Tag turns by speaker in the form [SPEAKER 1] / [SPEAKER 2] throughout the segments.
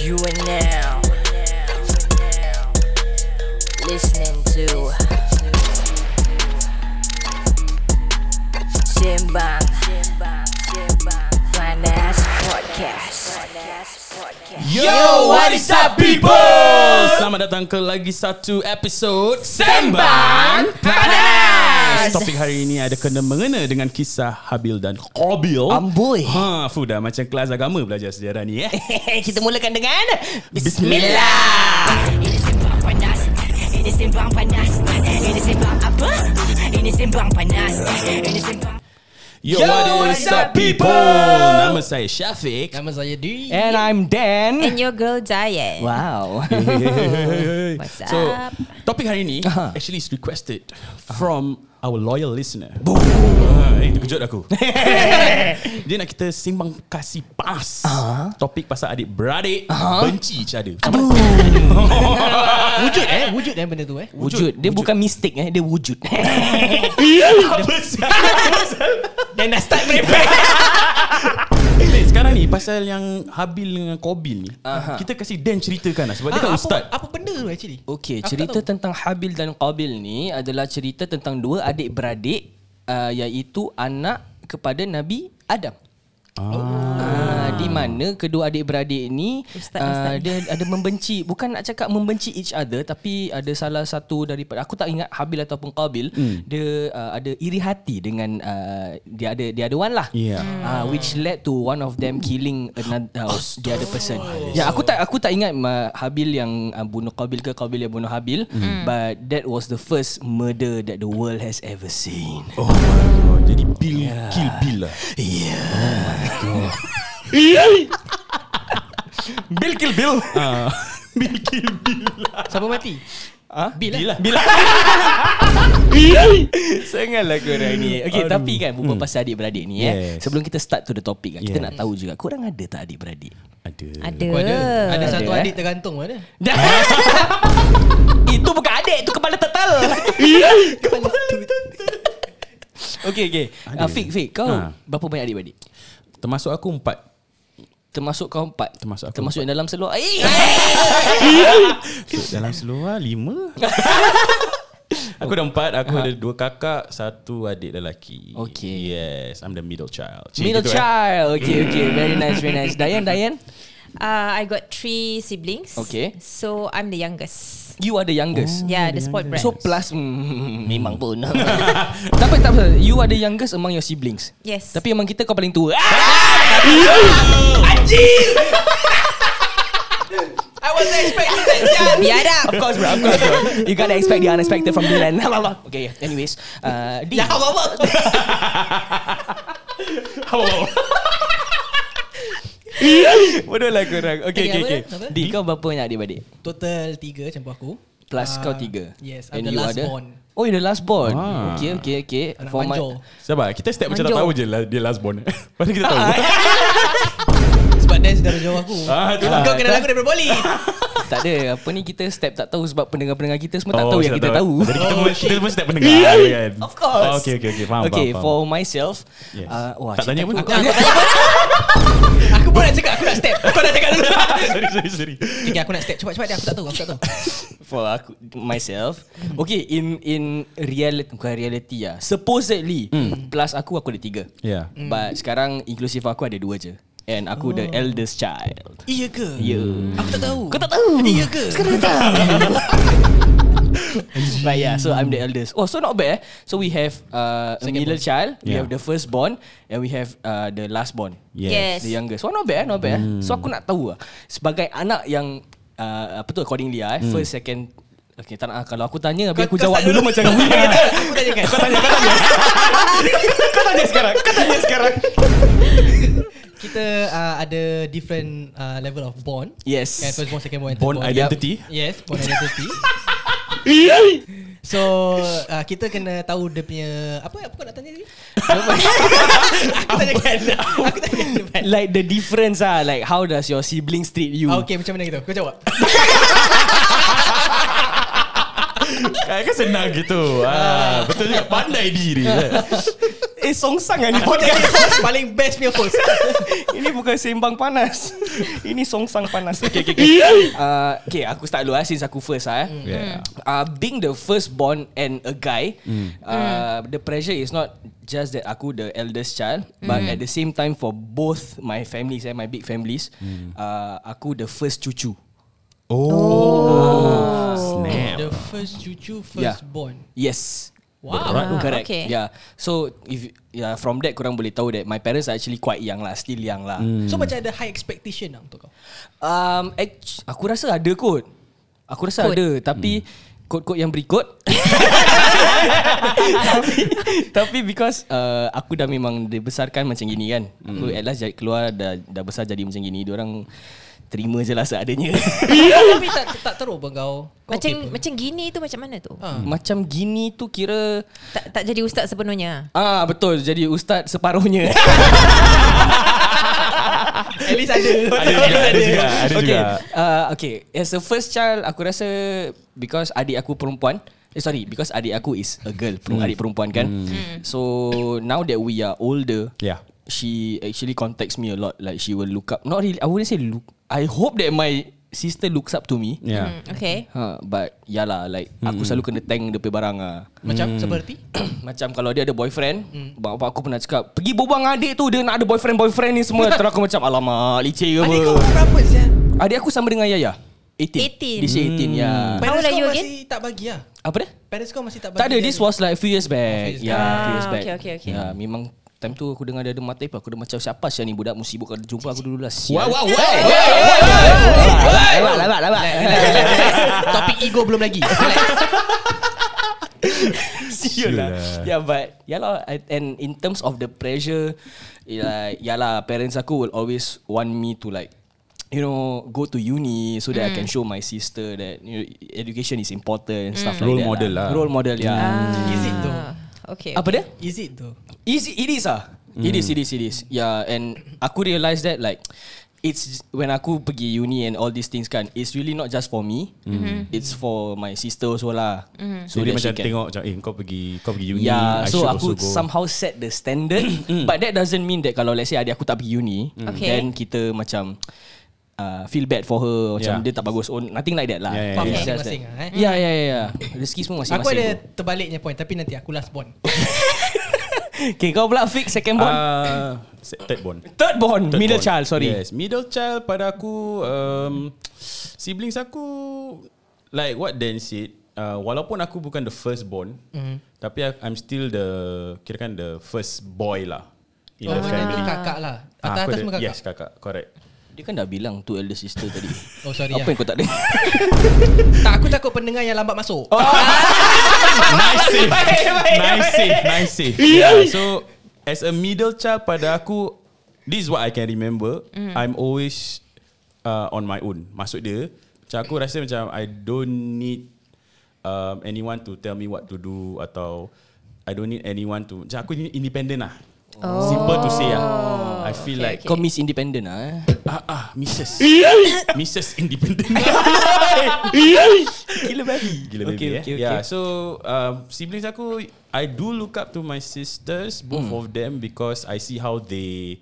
[SPEAKER 1] You are now listening to Simbang Panas Podcast.
[SPEAKER 2] Yo,
[SPEAKER 3] what is up, people?
[SPEAKER 2] Selamat datang ke lagi satu episod
[SPEAKER 3] Sembang Panas.
[SPEAKER 2] Topik hari ini ada kena mengena dengan kisah Habil dan Qabil.
[SPEAKER 3] Amboi.
[SPEAKER 2] Ha, fu dah macam kelas agama belajar sejarah ni eh.
[SPEAKER 3] Kita mulakan dengan
[SPEAKER 2] Bismillah.
[SPEAKER 4] Ini sembang panas Ini sembang panas Ini sembang apa? Ini sembang panas Ini sembang
[SPEAKER 2] Yo,
[SPEAKER 3] Yo,
[SPEAKER 2] what is up people? Nama saya Syafiq.
[SPEAKER 3] Nama saya Dwi.
[SPEAKER 5] And I'm Dan.
[SPEAKER 1] And your girl Diane.
[SPEAKER 5] Wow.
[SPEAKER 1] What's up?
[SPEAKER 2] So, topik hari ini actually is requested from our loyal listener. Ha, eh, terkejut aku. Dia nak kita simbang kasih panas. Topik pasal adik-beradik benci cara.
[SPEAKER 3] Wujud eh, wujud eh benda tu eh.
[SPEAKER 5] Wujud. Dia bukan mistake eh, dia wujud.
[SPEAKER 2] Apa
[SPEAKER 3] Dan dah start playback.
[SPEAKER 2] Eh, sekarang ni pasal yang Habil dengan Kobil ni. Kita kasih Dan ceritakan lah sebab
[SPEAKER 1] Ah,
[SPEAKER 2] dia kan ustaz.
[SPEAKER 3] Apa, apa benda tu actually?
[SPEAKER 5] Okey,
[SPEAKER 3] Aku tak
[SPEAKER 5] cerita
[SPEAKER 3] tahu.
[SPEAKER 5] tentang Habil dan Qabil ni adalah cerita tentang dua adik-beradik uh, iaitu anak kepada Nabi Adam. Ah. Di mana kedua adik-beradik ni
[SPEAKER 1] Ustaz,
[SPEAKER 5] uh,
[SPEAKER 1] Ustaz.
[SPEAKER 5] dia ada membenci Bukan nak cakap membenci each other Tapi ada salah satu daripada Aku tak ingat Habil ataupun Qabil Dia uh, ada iri hati dengan uh, Dia ada dia ada one lah
[SPEAKER 2] Yeah.
[SPEAKER 1] Hmm.
[SPEAKER 5] uh, Which led to one of them killing another, uh, The other
[SPEAKER 2] Oh,
[SPEAKER 5] person Ya aku tak aku tak ingat uh, Habil yang uh, bunuh Qabil ke Qabil yang bunuh Habil
[SPEAKER 2] Hmm.
[SPEAKER 5] But that was the first murder That the world has ever seen
[SPEAKER 2] Oh my god. Jadi Bill
[SPEAKER 1] Ya.
[SPEAKER 2] kill Bill lah.
[SPEAKER 5] Bill kill Bill
[SPEAKER 2] Ah. Bill kill Bill lah.
[SPEAKER 3] Siapa mati?
[SPEAKER 5] Ah?
[SPEAKER 3] Bil lah.
[SPEAKER 2] Bill lah. Bill lah.
[SPEAKER 5] Sangatlah korang ni Okay
[SPEAKER 2] Aduh. Hmm.
[SPEAKER 5] tapi kan Berbual pasal adik-beradik ni eh
[SPEAKER 2] Yes.
[SPEAKER 5] Sebelum kita start to the topic kan Kita
[SPEAKER 2] Yes.
[SPEAKER 5] nak tahu juga Korang ada tak adik-beradik?
[SPEAKER 2] Ada.
[SPEAKER 1] Ada.
[SPEAKER 3] Kau ada. Ada
[SPEAKER 5] Ada,
[SPEAKER 3] satu
[SPEAKER 5] eh.
[SPEAKER 3] adik tergantung ada.
[SPEAKER 5] Itu bukan adik Itu kepala tetal Kepala tetal Okay okay
[SPEAKER 2] Ada.
[SPEAKER 5] uh, Fik Fik Kau
[SPEAKER 2] Ha.
[SPEAKER 5] berapa banyak adik-beradik?
[SPEAKER 2] Termasuk aku empat.
[SPEAKER 5] Termasuk kau empat
[SPEAKER 2] Termasuk aku
[SPEAKER 5] Termasuk yang dalam seluar Eh
[SPEAKER 2] So, dalam seluar lima. aku ada empat. Aku ada dua kakak. Satu adik lelaki.
[SPEAKER 5] Okay.
[SPEAKER 2] Yes. I'm the middle child. Cik
[SPEAKER 5] Middle
[SPEAKER 2] gitu, eh.
[SPEAKER 5] child Okay okay Very nice very nice Dayan Dayan
[SPEAKER 1] Uh, I got three siblings.
[SPEAKER 5] Okay.
[SPEAKER 1] So I'm the youngest.
[SPEAKER 5] You are the youngest
[SPEAKER 1] yeah, the spoiled brat.
[SPEAKER 5] So plus mm, Memang pun Tak apa tak apa You are the youngest Among your siblings
[SPEAKER 1] Yes.
[SPEAKER 5] Tapi emang kita kau paling tua
[SPEAKER 3] I was expecting that.
[SPEAKER 1] biadab.
[SPEAKER 5] Of course bro Of course bro You gotta expect the unexpected From Dylan Okay anyways uh, Di
[SPEAKER 3] Ya Allah.
[SPEAKER 2] Oh.
[SPEAKER 5] Bodoh lah korang Okay okay,
[SPEAKER 3] Apa
[SPEAKER 5] okay.
[SPEAKER 3] dia? Apa?
[SPEAKER 5] Di kau berapa banyak adik-adik?
[SPEAKER 3] Total tiga campur aku.
[SPEAKER 5] Plus
[SPEAKER 3] Ah,
[SPEAKER 5] kau tiga
[SPEAKER 3] Yes,
[SPEAKER 5] And
[SPEAKER 3] I'm the
[SPEAKER 5] you
[SPEAKER 3] last
[SPEAKER 5] are
[SPEAKER 3] born.
[SPEAKER 5] Oh you're the last born
[SPEAKER 2] Ah.
[SPEAKER 5] Okay okay okay
[SPEAKER 3] Anak
[SPEAKER 5] For my-
[SPEAKER 3] manjol.
[SPEAKER 2] Sabar. Kita setiap macam tak
[SPEAKER 1] Manjung.
[SPEAKER 2] tahu je lah dia last born. Mana kita
[SPEAKER 5] Ah,
[SPEAKER 2] tahu.
[SPEAKER 5] eh,
[SPEAKER 3] Sebab dia saudara jauh aku.
[SPEAKER 2] Ah, tu lah.
[SPEAKER 3] Kau kenal
[SPEAKER 5] Kan?
[SPEAKER 3] aku daripada poli.
[SPEAKER 5] Tak ada Apa ni kita step tak tahu Sebab pendengar-pendengar kita semua tak tahu
[SPEAKER 2] saya
[SPEAKER 5] Yang kita tahu
[SPEAKER 2] Oh,
[SPEAKER 5] Oh,
[SPEAKER 2] Jadi kita, pun, kita pun setiap pendengar kan.
[SPEAKER 5] Of course.
[SPEAKER 2] Oh, okay, okay, okay. Faham,
[SPEAKER 5] okay,
[SPEAKER 2] faham,
[SPEAKER 5] for
[SPEAKER 2] faham.
[SPEAKER 5] myself,
[SPEAKER 2] Yes.
[SPEAKER 5] uh, wah,
[SPEAKER 2] Tak tanya pun.
[SPEAKER 5] cerita aku- aku-
[SPEAKER 3] Aku pun nak cakap aku nak step. Kau nak cakap dulu.
[SPEAKER 2] sorry, sorry, sorry.
[SPEAKER 3] Okay, aku nak step cepat-cepat dia aku tak tahu aku tak tahu.
[SPEAKER 5] for aku myself, okay, in in reality bukan reality ya, supposedly
[SPEAKER 2] Hmm.
[SPEAKER 5] plus aku aku ada tiga.
[SPEAKER 2] Yeah.
[SPEAKER 3] Hmm.
[SPEAKER 5] But sekarang inclusive aku ada dua je. And aku
[SPEAKER 3] Oh.
[SPEAKER 5] the eldest child.
[SPEAKER 3] Iya ke?
[SPEAKER 5] Ya.
[SPEAKER 2] Hmm.
[SPEAKER 3] Aku tak tahu.
[SPEAKER 5] Kau tak tahu?
[SPEAKER 3] Iya ke?
[SPEAKER 5] But yeah, so I'm the eldest. Oh, so not bad. eh. So we have uh, a middle child, we
[SPEAKER 2] Yeah.
[SPEAKER 5] have the firstborn, and we have uh, the lastborn.
[SPEAKER 1] Yes.
[SPEAKER 5] The youngest So not bad eh, Not bad hmm. So aku nak tahu lah Sebagai anak yang uh, Apa tu accordingly lah eh, hmm. First second Okay tak nak ah. Kalau aku tanya Habis aku
[SPEAKER 3] Kau- kau
[SPEAKER 5] jawab
[SPEAKER 3] start
[SPEAKER 5] dulu macam
[SPEAKER 3] Aku
[SPEAKER 5] weird.
[SPEAKER 3] tanya, Aku tanya kan. Kau tanya kau tanya.
[SPEAKER 5] Kau tanya sekarang Kau tanya sekarang
[SPEAKER 3] Kita uh, ada different uh, level of bond.
[SPEAKER 5] Yes
[SPEAKER 3] Kan first born, second born, and third
[SPEAKER 2] Born
[SPEAKER 3] born.
[SPEAKER 2] identity.
[SPEAKER 3] Yes, born identity. so uh, kita kena tahu dia punya apa apa kau nak tanya tadi? aku tanya kan. Aku tanya kan.
[SPEAKER 5] Like the difference ah, Like how does your siblings treat you
[SPEAKER 3] Okay macam mana gitu? Kau jawab.
[SPEAKER 2] Kan kan senang gitu. Ah, betul juga pandai diri.
[SPEAKER 5] Eh songsang lah ni
[SPEAKER 3] Podcast
[SPEAKER 5] podcast
[SPEAKER 3] host paling best punya host.
[SPEAKER 5] Ini bukan sembang panas Ini songsang panas Okay, okay, okay. Uh, okay aku start dulu lah Since aku first lah eh.
[SPEAKER 2] Yeah.
[SPEAKER 5] uh, being the first born and a guy, uh, the pressure is not just that aku the eldest child, but at the same time for both my families and my big families, uh, aku the first cucu. Oh.
[SPEAKER 2] Oh. Snap.
[SPEAKER 3] The first cucu first
[SPEAKER 5] Yeah.
[SPEAKER 3] born.
[SPEAKER 5] Yes.
[SPEAKER 3] Wow.
[SPEAKER 2] Berat tu.
[SPEAKER 5] Correct.
[SPEAKER 1] okay.
[SPEAKER 5] Yeah. So if yeah, from that kurang boleh tahu that my parents are actually quite young lah, still young lah.
[SPEAKER 3] So macam ada high expectation lah untuk kau.
[SPEAKER 5] Um, act- aku rasa ada kot. Aku rasa
[SPEAKER 1] Kot.
[SPEAKER 5] ada tapi kod-kod yang berikut. tapi, tapi because uh, aku dah memang dibesarkan macam gini kan. Aku at last jadi keluar dah dah besar jadi macam gini. Diorang terima je lah seadanya.
[SPEAKER 3] Tapi tak tak teruk pun kau. Kau
[SPEAKER 1] Macam
[SPEAKER 3] okay pun?
[SPEAKER 1] macam gini tu macam mana tu?
[SPEAKER 3] Ah.
[SPEAKER 5] macam gini tu kira
[SPEAKER 1] Tak tak jadi ustaz sepenuhnya.
[SPEAKER 5] ah betul jadi ustaz separuhnya.
[SPEAKER 3] At least ada.
[SPEAKER 2] Ada juga, ada juga, ada
[SPEAKER 5] okay.
[SPEAKER 2] juga.
[SPEAKER 5] Uh, okay. As a first child, aku rasa because adik aku perempuan. Eh, sorry, because adik aku is a girl,
[SPEAKER 2] Hmm.
[SPEAKER 5] mm. adik perempuan kan.
[SPEAKER 3] Hmm.
[SPEAKER 5] Mm. So now that we are older,
[SPEAKER 2] Yeah.
[SPEAKER 5] she actually contacts me a lot. Like she will look up. Not really. I wouldn't say look. I hope that my sister looks up to me.
[SPEAKER 2] Yeah. Hmm.
[SPEAKER 1] Hmm, okay.
[SPEAKER 5] Ha, but ya lah like mm. aku selalu kena tank dia punya barang ah.
[SPEAKER 3] Macam seperti
[SPEAKER 5] macam kalau dia ada boyfriend, mm. bapak aku pernah cakap, "Pergi berbual dengan adik tu, dia nak ada boyfriend-boyfriend ni semua." Terus aku macam, "Alamak, licik ke apa?"
[SPEAKER 3] Adik kau orang berapa Zia?
[SPEAKER 5] Adik aku sama dengan Yaya
[SPEAKER 1] 18.
[SPEAKER 5] 18 This year 18 ya.
[SPEAKER 1] How
[SPEAKER 3] Parents
[SPEAKER 1] old are
[SPEAKER 3] kau
[SPEAKER 1] you again?
[SPEAKER 3] masih tak bagi lah
[SPEAKER 5] Apa dia?
[SPEAKER 3] Parents kau masih tak bagi
[SPEAKER 5] Tak ada
[SPEAKER 3] dia
[SPEAKER 5] This
[SPEAKER 3] ni?
[SPEAKER 5] was like few years
[SPEAKER 3] Few
[SPEAKER 5] back
[SPEAKER 3] years
[SPEAKER 5] Ya
[SPEAKER 1] back.
[SPEAKER 5] few years
[SPEAKER 1] Ah,
[SPEAKER 5] back
[SPEAKER 1] okay, okay, okay.
[SPEAKER 5] Ya memang Time tu aku dengar dia ada mata Aku dah macam siapa sih ni budak Musibuk kalau jumpa aku dulu lah Sial.
[SPEAKER 2] Wow, wow, wow.
[SPEAKER 5] Lawak lawak lawak
[SPEAKER 3] Topik ego belum lagi
[SPEAKER 5] Sial lah Yeah but Ya lah I- And in terms of the pressure ya- Ya lah Parents aku will always Want me to like You know, go to uni so that I can show my sister that you know, education is important and stuff like
[SPEAKER 2] Role
[SPEAKER 5] that.
[SPEAKER 2] model lah.
[SPEAKER 5] Role model, ya.
[SPEAKER 3] Is it tu
[SPEAKER 1] Ah, okay.
[SPEAKER 5] Apa dia?
[SPEAKER 3] Is it tu
[SPEAKER 5] Is it is ah. It is it is it is. Yeah and aku realise that like it's when aku pergi uni and all these things kan it's really not just for me. Mm-hmm. It's for my sister also lah. Mm-hmm.
[SPEAKER 2] So dia
[SPEAKER 5] that she
[SPEAKER 2] macam
[SPEAKER 5] can-
[SPEAKER 2] tengok macam eh kau pergi kau pergi uni. I
[SPEAKER 5] Yeah,
[SPEAKER 2] should
[SPEAKER 5] so
[SPEAKER 2] also go.
[SPEAKER 5] aku
[SPEAKER 2] Mm-hmm.
[SPEAKER 5] somehow set the standard but that doesn't mean that kalau let's say adik aku tak pergi uni
[SPEAKER 1] Okay.
[SPEAKER 5] then kita macam uh, feel bad for her macam
[SPEAKER 2] Yeah.
[SPEAKER 5] dia tak bagus on nothing like that lah. Ya,
[SPEAKER 2] Yeah, yeah,
[SPEAKER 3] Faham
[SPEAKER 2] yeah.
[SPEAKER 5] It's just that.
[SPEAKER 3] masing-masing lah, eh.
[SPEAKER 5] Yeah, yeah, yeah, yeah. Rezeki semua masing-masing.
[SPEAKER 3] Aku ada terbaliknya point Tapi nanti aku last born
[SPEAKER 5] Okay, kau pula fix second born. Uh,
[SPEAKER 2] Ah, se- third born.
[SPEAKER 5] Third born,
[SPEAKER 2] Third
[SPEAKER 5] middle
[SPEAKER 2] born.
[SPEAKER 5] child, sorry.
[SPEAKER 2] Yes, middle child pada aku um, siblings aku like what Dan said. Uh, walaupun aku bukan the first born, mm.
[SPEAKER 5] Hmm.
[SPEAKER 2] tapi ak- I'm still the kirakan the first boy lah in the
[SPEAKER 3] Oh,
[SPEAKER 2] family.
[SPEAKER 3] Kakak lah
[SPEAKER 2] Ah, aku
[SPEAKER 3] Atas-atas
[SPEAKER 2] the-
[SPEAKER 3] semua kakak
[SPEAKER 2] Yes, kakak. Correct.
[SPEAKER 5] Dia kan dah bilang tu elder sister tadi.
[SPEAKER 3] Oh sorry
[SPEAKER 2] ya.
[SPEAKER 5] Apa
[SPEAKER 3] Apa
[SPEAKER 5] yang kau tak dengar?
[SPEAKER 3] Tak aku takut pendengar yang lambat masuk
[SPEAKER 2] nice save. nice save. Nice save. Yeah. So as a middle child pada aku this is what I can remember. Mm. I'm always uh, on my own. Maksud dia macam aku rasa macam I don't need um, anyone to tell me what to do atau I don't need anyone to macam aku ni independent lah. Oh. Simple to say lah. I feel okay, like
[SPEAKER 1] Okay, okay.
[SPEAKER 5] Kau Miss Independent lah eh.
[SPEAKER 2] ah ah Mrs. Mrs. Independent. Gila babi. Gila babi.
[SPEAKER 5] Okay,
[SPEAKER 2] Okay,
[SPEAKER 5] okay,
[SPEAKER 2] okay,
[SPEAKER 5] okay.
[SPEAKER 2] Yeah, so um, siblings aku, I do look up to my sisters, both
[SPEAKER 5] Hmm.
[SPEAKER 2] of them, because I see how they,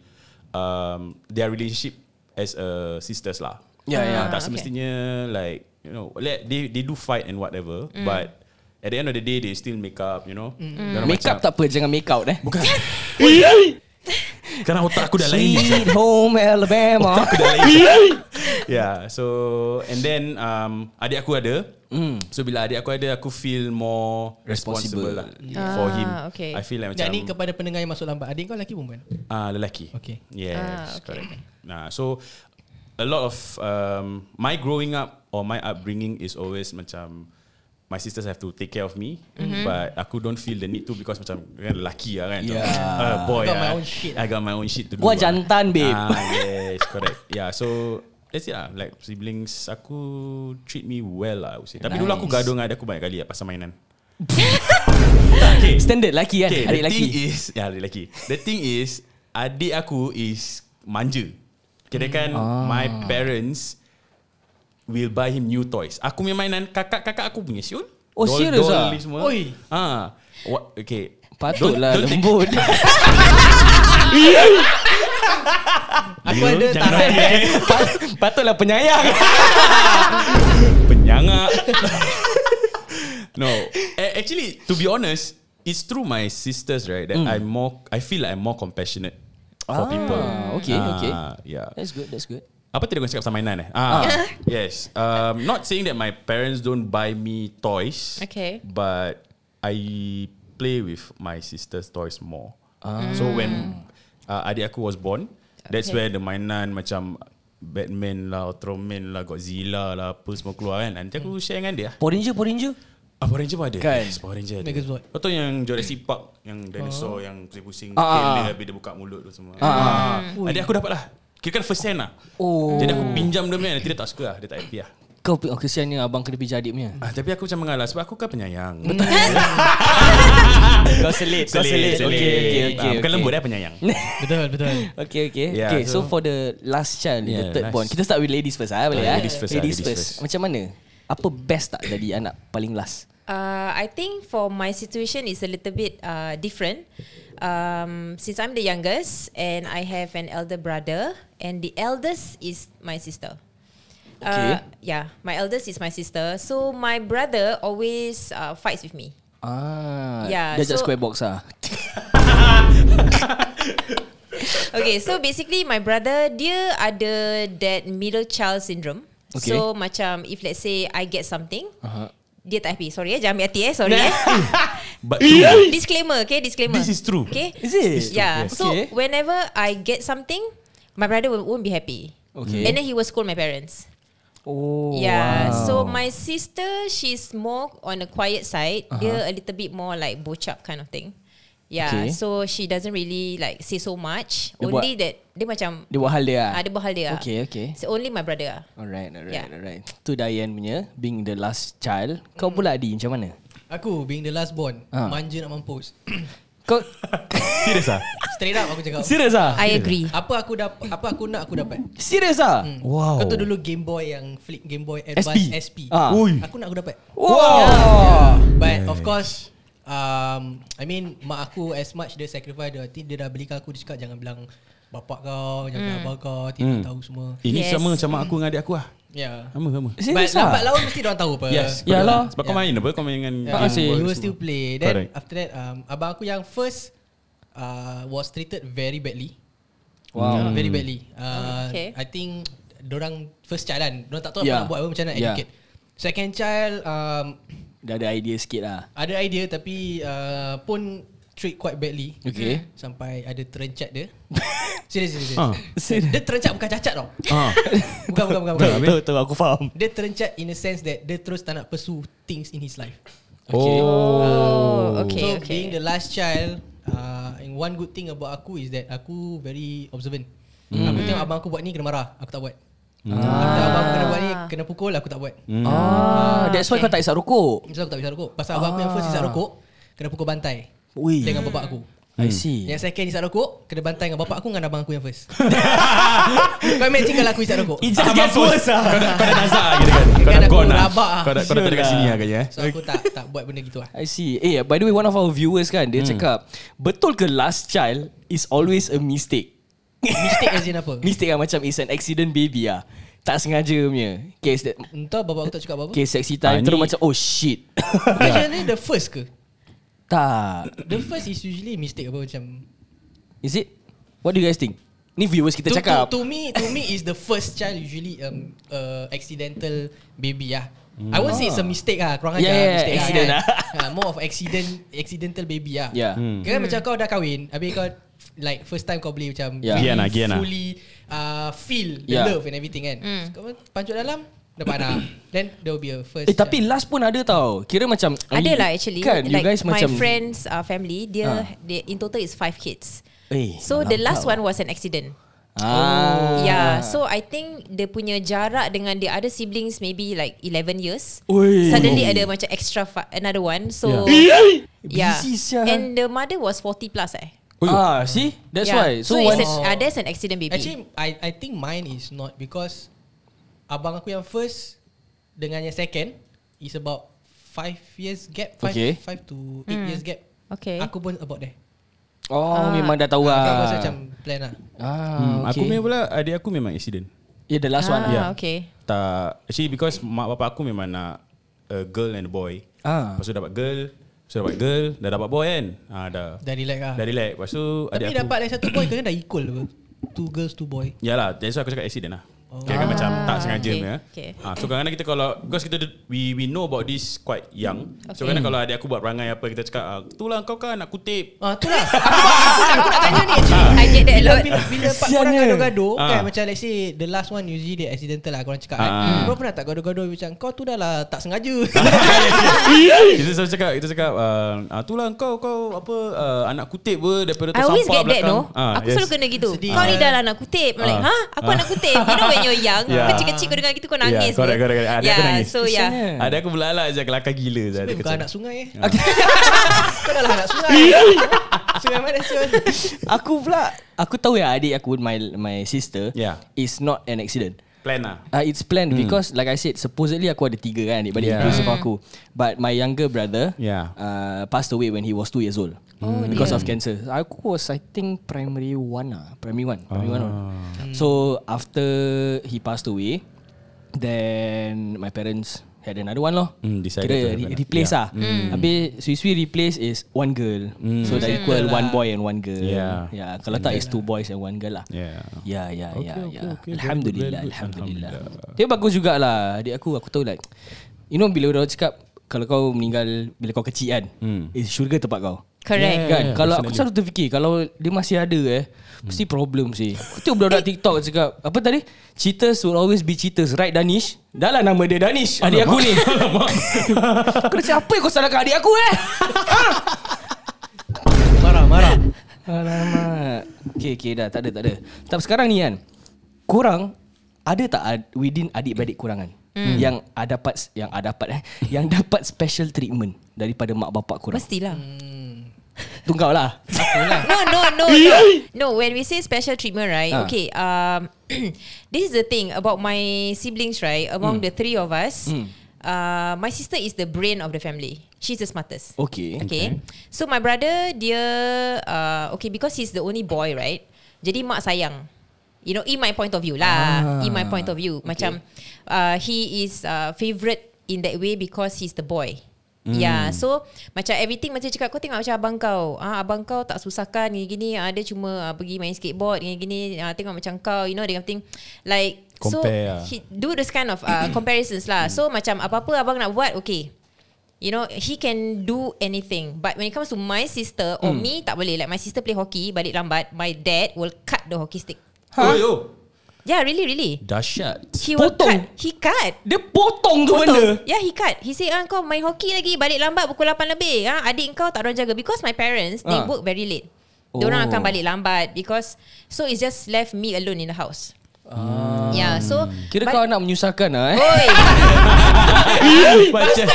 [SPEAKER 2] um, their relationship as a sisters lah.
[SPEAKER 5] Ya, ya.
[SPEAKER 2] Tak
[SPEAKER 1] okay.
[SPEAKER 2] semestinya like you know, let they they do fight and whatever, but at the end of the day they still make up, you know. Mm.
[SPEAKER 5] Make up tak apa, jangan make out eh.
[SPEAKER 2] Bukan. Kerana otak aku dah lain. Oh,
[SPEAKER 5] Sweet home Alabama.
[SPEAKER 2] Aku dah lain Yeah Ya, So And then um, Adik aku ada
[SPEAKER 3] Hmm.
[SPEAKER 2] mm. So bila adik aku ada Aku feel more Responsible,
[SPEAKER 5] Responsible.
[SPEAKER 2] lah For
[SPEAKER 1] Ah,
[SPEAKER 2] him
[SPEAKER 1] okay.
[SPEAKER 2] I feel like macam
[SPEAKER 3] Dan ni kepada pendengar yang masuk lambat Adik kau lelaki perempuan
[SPEAKER 2] Ah, lelaki.
[SPEAKER 3] Okay.
[SPEAKER 2] Yes,
[SPEAKER 1] Ah, okay.
[SPEAKER 2] correct. Nah, so a lot of um, my growing up or my upbringing is always macam my sisters have to take care of me,
[SPEAKER 1] Mm-hmm.
[SPEAKER 2] but aku don't feel the need to because macam kan lelaki lah kan.
[SPEAKER 5] Yeah.
[SPEAKER 2] Uh, boy.
[SPEAKER 3] I got my
[SPEAKER 2] ah.
[SPEAKER 3] own shit.
[SPEAKER 2] I got my own shit to do. ah.
[SPEAKER 5] Gua jantan, babe.
[SPEAKER 2] Ah, yes, correct. Yeah, so That's it lah Like siblings Aku Treat me well lah I would say. Tapi dulu aku
[SPEAKER 5] Nice.
[SPEAKER 2] gaduh dengan adik aku Banyak kali lah Pasal mainan
[SPEAKER 5] Standard lelaki kan, adik
[SPEAKER 2] the
[SPEAKER 5] lelaki.
[SPEAKER 2] thing is Ya adik lelaki The thing is Adik aku is Manja Kira kan
[SPEAKER 5] Ah.
[SPEAKER 2] My parents Will buy him new toys Aku punya mainan Kakak-kakak aku punya Syul
[SPEAKER 5] Oh, serious ah?
[SPEAKER 2] ni semua
[SPEAKER 3] Oi.
[SPEAKER 2] ah, what, Okay
[SPEAKER 5] Patutlah
[SPEAKER 2] Don't- don't take-
[SPEAKER 5] lembut.
[SPEAKER 3] Aku ada
[SPEAKER 2] Jangan
[SPEAKER 3] tahan
[SPEAKER 2] raya, eh.
[SPEAKER 5] Pat- Patutlah penyayang.
[SPEAKER 2] Penyangak No A- Actually To be honest It's through my sisters right That I'm more I feel like I'm more compassionate For people
[SPEAKER 5] Ah, okay, okay.
[SPEAKER 2] Ah, Yeah
[SPEAKER 5] That's good, that's good.
[SPEAKER 2] Apa tadi kau cakap pasal mainan eh ah, Yes um, Not saying that my parents Don't buy me toys
[SPEAKER 1] Okay.
[SPEAKER 2] But I play with My sister's toys more So when uh, Adik aku was born That's
[SPEAKER 1] Okay.
[SPEAKER 2] where the mainan Macam Batman lah Ultraman lah Godzilla lah Apa semua keluar kan Nanti
[SPEAKER 1] Hmm.
[SPEAKER 2] aku share dengan dia
[SPEAKER 5] Power Ranger, Power Ranger.
[SPEAKER 2] Ah, Power Ranger pun ada
[SPEAKER 5] Kan?
[SPEAKER 2] yes, Power Ranger ada
[SPEAKER 3] Megazord.
[SPEAKER 2] Kau tahu yang
[SPEAKER 1] Hmm.
[SPEAKER 2] Jurassic Park Yang
[SPEAKER 1] Oh.
[SPEAKER 2] dinosaur Yang pusing-pusing
[SPEAKER 5] Ah,
[SPEAKER 2] tail
[SPEAKER 5] ah,
[SPEAKER 2] dia,
[SPEAKER 5] ah.
[SPEAKER 2] Habis dia buka mulut tu semua ah.
[SPEAKER 1] Hmm.
[SPEAKER 2] Adik aku dapat lah Kira kan first hand lah
[SPEAKER 5] Oh.
[SPEAKER 2] Jadi aku pinjam dia punya Nanti dia tak suka lah Dia tak happy lah
[SPEAKER 5] Kau pi- oh, kesiannya abang kena pijak adik punya.
[SPEAKER 2] ah, Tapi aku macam mengalah Sebab aku kan penyayang
[SPEAKER 5] Kau selit, kau selit. Okay, okay,
[SPEAKER 2] Ah,
[SPEAKER 5] okay.
[SPEAKER 2] Bukan
[SPEAKER 5] okay.
[SPEAKER 2] lembut eh penyayang
[SPEAKER 3] Betul betul
[SPEAKER 5] Okay, okay.
[SPEAKER 2] Yeah,
[SPEAKER 5] okay, so,
[SPEAKER 2] so-
[SPEAKER 5] for the last child,
[SPEAKER 2] Yeah,
[SPEAKER 5] the third
[SPEAKER 2] nice.
[SPEAKER 5] born. Kita start with ladies first ah, boleh
[SPEAKER 2] Ah,
[SPEAKER 5] ah.
[SPEAKER 2] ladies first ah,
[SPEAKER 5] Ladies
[SPEAKER 2] ladies
[SPEAKER 5] first.
[SPEAKER 2] first.
[SPEAKER 5] Macam mana? Apa best tak jadi anak paling last?
[SPEAKER 1] Uh, I think for my situation is a little bit uh, different. Um, since I'm the youngest and I have an elder brother, and the eldest is my sister.
[SPEAKER 5] Okay.
[SPEAKER 1] Uh, yeah, my eldest is my sister. So my brother always uh, fights with me.
[SPEAKER 5] Ah,
[SPEAKER 1] Yeah,
[SPEAKER 5] dia so,
[SPEAKER 1] so-
[SPEAKER 5] square box ah.
[SPEAKER 1] Okay, so basically my brother dia ada that middle child syndrome.
[SPEAKER 5] Okay.
[SPEAKER 1] Okay. So macam if let's say I get something, uh-huh. dia tak happy. Sorry eh, jangan ambil hati eh. Sorry eh.
[SPEAKER 2] But true lah.
[SPEAKER 1] disclaimer, okay? Disclaimer.
[SPEAKER 2] This is true.
[SPEAKER 1] Okay?
[SPEAKER 5] Is it? It's true,
[SPEAKER 1] Yeah.
[SPEAKER 5] yes.
[SPEAKER 1] So
[SPEAKER 5] Okay.
[SPEAKER 1] whenever I get something, my brother won't, won't be happy.
[SPEAKER 5] Okay.
[SPEAKER 1] And then he will scold my parents.
[SPEAKER 5] Oh.
[SPEAKER 1] yeah. So my sister, she's more on the quiet side.
[SPEAKER 5] Uh-huh.
[SPEAKER 1] Dia a little bit more like bocap kind of thing. Yeah.
[SPEAKER 5] Okay.
[SPEAKER 1] So she doesn't really like say so much.
[SPEAKER 5] Dia
[SPEAKER 1] Only that dia macam
[SPEAKER 5] Dia buat hal dia. ah?
[SPEAKER 1] Ah, dia berhal dia.
[SPEAKER 5] Okay, okay.
[SPEAKER 1] So only my brother. ah.
[SPEAKER 5] Alright, alright,
[SPEAKER 1] Yeah.
[SPEAKER 5] alright. Tu Diane punya being the last child. Kau pula Adi macam mana?
[SPEAKER 3] Aku being the last born
[SPEAKER 5] Ah.
[SPEAKER 3] Manja nak mampus
[SPEAKER 5] Kau
[SPEAKER 2] Serius ah
[SPEAKER 3] Straight up aku cakap
[SPEAKER 5] serius ah?
[SPEAKER 1] I agree.
[SPEAKER 3] Apa aku dapat Apa aku nak aku dapat
[SPEAKER 5] Serius ah?
[SPEAKER 1] Hmm.
[SPEAKER 3] Kau tahu dulu Game Boy yang Flip Game Boy
[SPEAKER 5] SP.
[SPEAKER 3] Advance SP,
[SPEAKER 5] Ah.
[SPEAKER 2] Ui.
[SPEAKER 3] Aku nak aku dapat
[SPEAKER 5] Wow.
[SPEAKER 3] But of course um, I mean Mak aku as much Dia sacrifice dia, Dia dah belikan aku Dia cakap jangan bilang Bapak kau Jangan abang kau Tidak tahu semua
[SPEAKER 2] Ini
[SPEAKER 1] Yes.
[SPEAKER 2] sama macam mak aku dengan adik aku lah
[SPEAKER 3] Yeah
[SPEAKER 2] Sama-sama
[SPEAKER 5] Serius
[SPEAKER 3] But
[SPEAKER 5] ah?
[SPEAKER 3] lambat laun mesti diorang tahu apa
[SPEAKER 2] Yes
[SPEAKER 5] Ya lah.
[SPEAKER 2] Sebab kau main apa Kau main dengan
[SPEAKER 5] Ah,
[SPEAKER 3] Yeah,
[SPEAKER 5] sih.
[SPEAKER 3] we will still play. Then
[SPEAKER 2] Correct.
[SPEAKER 3] after that, um, abang aku yang first uh, was treated very badly.
[SPEAKER 5] Wow.
[SPEAKER 3] Very badly. Uh,
[SPEAKER 1] Okay.
[SPEAKER 3] I think dorang first child kan. Dorang tak tahu
[SPEAKER 5] Yeah.
[SPEAKER 3] apa nak buat apa, macam mana nak
[SPEAKER 5] Yeah.
[SPEAKER 3] educate. Second child, um,
[SPEAKER 5] Dah ada idea sikit lah.
[SPEAKER 3] ada idea tapi uh, pun treat quite badly.
[SPEAKER 5] Okay.
[SPEAKER 3] Sampai ada terencat dia. serius, serius, serius.
[SPEAKER 2] Ah.
[SPEAKER 3] Dia terencat bukan cacat tau.
[SPEAKER 2] Ah.
[SPEAKER 3] Bukan, bukan, bukan. bukan.
[SPEAKER 5] betul aku faham.
[SPEAKER 3] Dia terencat in a sense that dia terus tak nak pursue things in his life.
[SPEAKER 5] Okay.
[SPEAKER 1] Oh,
[SPEAKER 3] so
[SPEAKER 1] okay, okay.
[SPEAKER 3] being the last child, uh, and one good thing about aku is that aku very observant.
[SPEAKER 5] Hmm.
[SPEAKER 3] Aku tengok abang aku buat ni kena marah, aku tak buat. Aku tengok abang aku kena buat ni kena pukul, aku tak buat.
[SPEAKER 5] Ah, that's why kau tak isap rokok.
[SPEAKER 3] So aku tak bisa rokok. Pasal abang aku yang
[SPEAKER 1] Ah.
[SPEAKER 3] first isap rokok, kena pukul bantai
[SPEAKER 5] Ui.
[SPEAKER 3] dengan bapak aku.
[SPEAKER 2] Hmm.
[SPEAKER 5] I see.
[SPEAKER 3] Yang second isap rokok, kena bantai dengan bapak aku dengan abang aku yang first. Kau imagine kalau aku isap rokok.
[SPEAKER 5] just gets worse ah.
[SPEAKER 2] Kau dah, kau dah nazar gitu kan Kau
[SPEAKER 3] Kan
[SPEAKER 2] dah
[SPEAKER 3] aku
[SPEAKER 2] gone lah
[SPEAKER 3] rabak ah.
[SPEAKER 2] Kau dah, kau dah tak dekat
[SPEAKER 5] Sure
[SPEAKER 2] sini
[SPEAKER 5] lah.
[SPEAKER 2] lah agaknya eh
[SPEAKER 3] So aku tak tak buat benda gitu lah.
[SPEAKER 5] I see. Eh, by the way, one of our viewers kan,
[SPEAKER 2] Hmm.
[SPEAKER 5] dia cakap, betul ke last child is always a mistake?
[SPEAKER 3] Mistake as in apa?
[SPEAKER 5] Mistake lah macam it's an accident baby ah. Tak sengaja punya. Okay, it's that,
[SPEAKER 3] Entah bapak aku tak cakap apa-apa.
[SPEAKER 5] okay sexy time.
[SPEAKER 2] Ah,
[SPEAKER 5] terus
[SPEAKER 2] ni-
[SPEAKER 5] macam, oh shit.
[SPEAKER 3] Question ni the first ke?
[SPEAKER 5] tak.
[SPEAKER 3] The first is usually mistake apa macam
[SPEAKER 5] Is it? What do you guys think? Ni viewers kita
[SPEAKER 3] to,
[SPEAKER 5] cakap.
[SPEAKER 3] To, to me, to me is the first child usually um uh, accidental baby lah. I won't say it's a mistake ah, kurang
[SPEAKER 5] Yeah,
[SPEAKER 3] ajar
[SPEAKER 5] yeah,
[SPEAKER 3] mistake
[SPEAKER 5] accident
[SPEAKER 3] lah.
[SPEAKER 5] ah.
[SPEAKER 3] kan? Ah, more of accident accidental baby lah.
[SPEAKER 5] Yeah. Hmm.
[SPEAKER 3] Kan macam kau dah kahwin, habis kau f- like first time kau boleh macam
[SPEAKER 5] Yeah.
[SPEAKER 2] Gian
[SPEAKER 3] really
[SPEAKER 2] lah, gian lah.
[SPEAKER 3] fully uh, feel the
[SPEAKER 5] Yeah.
[SPEAKER 3] love and everything kan. Kau pancut dalam dapat anak. Then there will be a first.
[SPEAKER 5] Eh tapi last pun ada tau Kira macam
[SPEAKER 1] Ada lah actually
[SPEAKER 5] Kan
[SPEAKER 1] like
[SPEAKER 5] you guys
[SPEAKER 1] My
[SPEAKER 5] macam
[SPEAKER 1] friend's uh, family Dia
[SPEAKER 5] Ah.
[SPEAKER 1] dia in total is five kids
[SPEAKER 5] Eh,
[SPEAKER 1] So the
[SPEAKER 5] malam
[SPEAKER 1] last
[SPEAKER 5] kau.
[SPEAKER 1] one was an accident Oh.
[SPEAKER 5] ah.
[SPEAKER 1] Yeah So I think Dia punya jarak Dengan the other siblings Maybe like 11 years
[SPEAKER 5] Ui.
[SPEAKER 1] Suddenly ada macam extra fa- Another one So Yeah,
[SPEAKER 5] Busy sia.
[SPEAKER 1] And the mother was 40 plus eh
[SPEAKER 5] Ah see That's
[SPEAKER 1] yeah.
[SPEAKER 5] why So,
[SPEAKER 1] So, it's
[SPEAKER 5] once
[SPEAKER 1] an, uh, There's an accident baby
[SPEAKER 3] Actually I I think mine is not because abang aku yang first dengan yang second is about 5 years gap
[SPEAKER 5] Okay.
[SPEAKER 3] 5 okay. five to 8 years gap.
[SPEAKER 1] Okay.
[SPEAKER 3] Aku pun about there
[SPEAKER 5] Oh
[SPEAKER 1] Ah.
[SPEAKER 5] memang dah tahu
[SPEAKER 3] Aku
[SPEAKER 5] lah
[SPEAKER 3] rasa macam plan lah
[SPEAKER 5] Ah,
[SPEAKER 2] Hmm,
[SPEAKER 5] okay.
[SPEAKER 2] Aku punya pula adik aku memang accident.
[SPEAKER 5] Yeah the last one
[SPEAKER 1] Ah,
[SPEAKER 5] yeah.
[SPEAKER 1] okay.
[SPEAKER 2] Tak actually because mak bapak aku memang nak a girl and a boy.
[SPEAKER 5] Ah.
[SPEAKER 2] Lepas tu dapat girl, lepas tu dapat girl, dah dapat boy kan. Ah dah.
[SPEAKER 3] Dah relax lah
[SPEAKER 2] Dah relax. Lepas tu adik
[SPEAKER 3] Tapi
[SPEAKER 2] aku
[SPEAKER 3] dapat lagi satu boy Kau kan dah equal apa Two girls two boy
[SPEAKER 2] Yalah, that's why aku cakap accident lah. Oh. Kira kan macam tak sengaja
[SPEAKER 1] okay,
[SPEAKER 2] punya.
[SPEAKER 1] okay.
[SPEAKER 2] Ah, so kadang-kadang kita kalau because kita do- we we know about this quite young. So
[SPEAKER 1] Okay.
[SPEAKER 2] kadang kalau adik aku buat perangai apa kita cakap, ah, "Tu lah kau kan nak kutip."
[SPEAKER 3] Ah, tu lah aku, aku, aku nak tanya ni actually
[SPEAKER 1] I get that a lot.
[SPEAKER 3] Bila, bila part
[SPEAKER 5] Kesiannya.
[SPEAKER 3] korang gaduh-gaduh
[SPEAKER 2] Ah.
[SPEAKER 3] kan Macam let's say The last one usually Dia accidental lah Korang cakap
[SPEAKER 2] Ah. Ah,
[SPEAKER 3] kan Korang pernah tak gaduh-gaduh Macam kau tu dah lah Tak sengaja
[SPEAKER 2] kita selalu cakap Kita cakap uh, ah, tu lah kau Kau apa uh, Anak kutip pun Daripada tu
[SPEAKER 1] I always
[SPEAKER 2] sampah
[SPEAKER 1] get that
[SPEAKER 2] belakang
[SPEAKER 1] no
[SPEAKER 2] Ah,
[SPEAKER 1] Aku selalu kena gitu
[SPEAKER 3] Sedih.
[SPEAKER 1] Kau ni
[SPEAKER 3] Ah.
[SPEAKER 1] dah lah nak kutip I'm like
[SPEAKER 2] Ah.
[SPEAKER 1] ha Aku nak kutip You know when you're young
[SPEAKER 2] Yeah.
[SPEAKER 1] Kecil-kecil kau dengar gitu Kau nangis
[SPEAKER 2] yeah, Correct
[SPEAKER 1] bro.
[SPEAKER 2] correct, correct. Ada aku
[SPEAKER 1] Yeah,
[SPEAKER 2] nangis
[SPEAKER 1] So yeah
[SPEAKER 2] Ada Ah, aku belalak je Kelakar gila je
[SPEAKER 3] Babe,
[SPEAKER 2] Ada
[SPEAKER 3] Bukan
[SPEAKER 2] kecil.
[SPEAKER 3] anak sungai eh Kau dah lah anak sungai Sungai mana Sion
[SPEAKER 5] Aku pula Aku tahu ya adik aku My my sister
[SPEAKER 2] Yeah.
[SPEAKER 5] Is not an accident
[SPEAKER 2] Plan lah
[SPEAKER 5] Uh, it's planned hmm. because like I said supposedly aku ada tiga kan adik balik
[SPEAKER 2] Yeah.
[SPEAKER 5] yeah. inclusive aku but my younger brother
[SPEAKER 2] Yeah. Hmm.
[SPEAKER 5] uh, passed away when he was two years old oh, because of cancer aku was I think primary one lah primary one primary one
[SPEAKER 2] Ah.
[SPEAKER 5] so after he passed away then my parents had another one loh
[SPEAKER 2] Hmm, decided to have
[SPEAKER 5] Kira re-
[SPEAKER 2] another-
[SPEAKER 5] replace
[SPEAKER 2] yeah.
[SPEAKER 5] lah Habis Sui-Sui replace is one girl So dah equal one boy and one girl
[SPEAKER 2] Hmm. Yeah.
[SPEAKER 5] yeah. Kalau tak is two boys and one girl lah
[SPEAKER 2] Yeah.
[SPEAKER 5] Ya ya
[SPEAKER 2] Okay, okay,
[SPEAKER 5] ya ya.
[SPEAKER 2] okay. Very good,
[SPEAKER 5] Alhamdulillah
[SPEAKER 2] very good.
[SPEAKER 5] alhamdulillah. Dia bagus jugalah adik aku aku tahu like you know bila orang cakap kalau kau meninggal bila kau kecil kan hmm. eh, syurga tempat kau.
[SPEAKER 1] Correct
[SPEAKER 5] Kan
[SPEAKER 2] yeah, Hmm.
[SPEAKER 5] kalau aku selalu terfikir kalau dia masih ada eh mesti problem sih. Aku tengok budak-budak
[SPEAKER 2] Eh.
[SPEAKER 5] TikTok cakap apa tadi? Cheaters will always be cheaters right Danish? Dah lah nama dia Danish adik aku ni. Kau dah cakap apa yang kau salahkan adik aku eh?
[SPEAKER 3] Marah marah
[SPEAKER 5] Alamak. Okay, okay dah. Tak ada, tak ada. Tak sekarang ni kan. Korang ada tak ad, within adik-beradik korang kan? Hmm. Yang ada dapat yang ada dapat eh, yang dapat special treatment daripada mak bapak korang.
[SPEAKER 1] Mestilah
[SPEAKER 3] Hmm,
[SPEAKER 5] Tungkau lah.
[SPEAKER 1] No no no no. No when we say special treatment right
[SPEAKER 5] Ah.
[SPEAKER 1] Okay um, This is the thing About my siblings right
[SPEAKER 2] Hmm.
[SPEAKER 1] Among the three of us uh, My sister is the brain of the family She's the smartest
[SPEAKER 5] Okay.
[SPEAKER 1] Okay. So my brother dia uh, okay because he's the only boy, right? Jadi mak sayang. You know, in my point of view lah.
[SPEAKER 5] Ah,
[SPEAKER 1] in my point of view, macam uh, he is uh, favorite in that way because he's the boy.
[SPEAKER 5] Hmm.
[SPEAKER 1] Yeah, so macam everything macam cakap kau tengok macam abang kau. Ah abang kau tak susahkan gini-gini. Ah dia cuma ah, pergi main skateboard gini-gini. Ah tengok macam kau, you know, that kind of thing. Like
[SPEAKER 2] Compare
[SPEAKER 1] so
[SPEAKER 2] lah.
[SPEAKER 1] he do this kind of uh, comparisons lah. So macam apa-apa abang nak buat, okay. You know He can do anything But when it comes to my sister Or me tak boleh Like my sister play hockey Balik lambat My dad will cut the hockey stick
[SPEAKER 5] Ha?
[SPEAKER 2] Oh yo
[SPEAKER 1] Yeah really really
[SPEAKER 2] Dahsyat
[SPEAKER 1] He will
[SPEAKER 5] Potong.
[SPEAKER 1] cut He cut
[SPEAKER 5] Dia potong tu benda.
[SPEAKER 1] Yeah he cut He say ah, kau main hockey lagi Balik lambat pukul 8 lebih ah, Adik kau tak ada orang jaga Because my parents They
[SPEAKER 5] Ah.
[SPEAKER 1] work very late
[SPEAKER 5] Oh.
[SPEAKER 1] oh. Diorang akan balik lambat Because So it's just left me alone in the house
[SPEAKER 5] Hmm.
[SPEAKER 1] ah. Yeah so
[SPEAKER 5] Kira
[SPEAKER 1] but-
[SPEAKER 5] kau nak menyusahkan lah eh.
[SPEAKER 1] Oi
[SPEAKER 5] ya.
[SPEAKER 2] Macam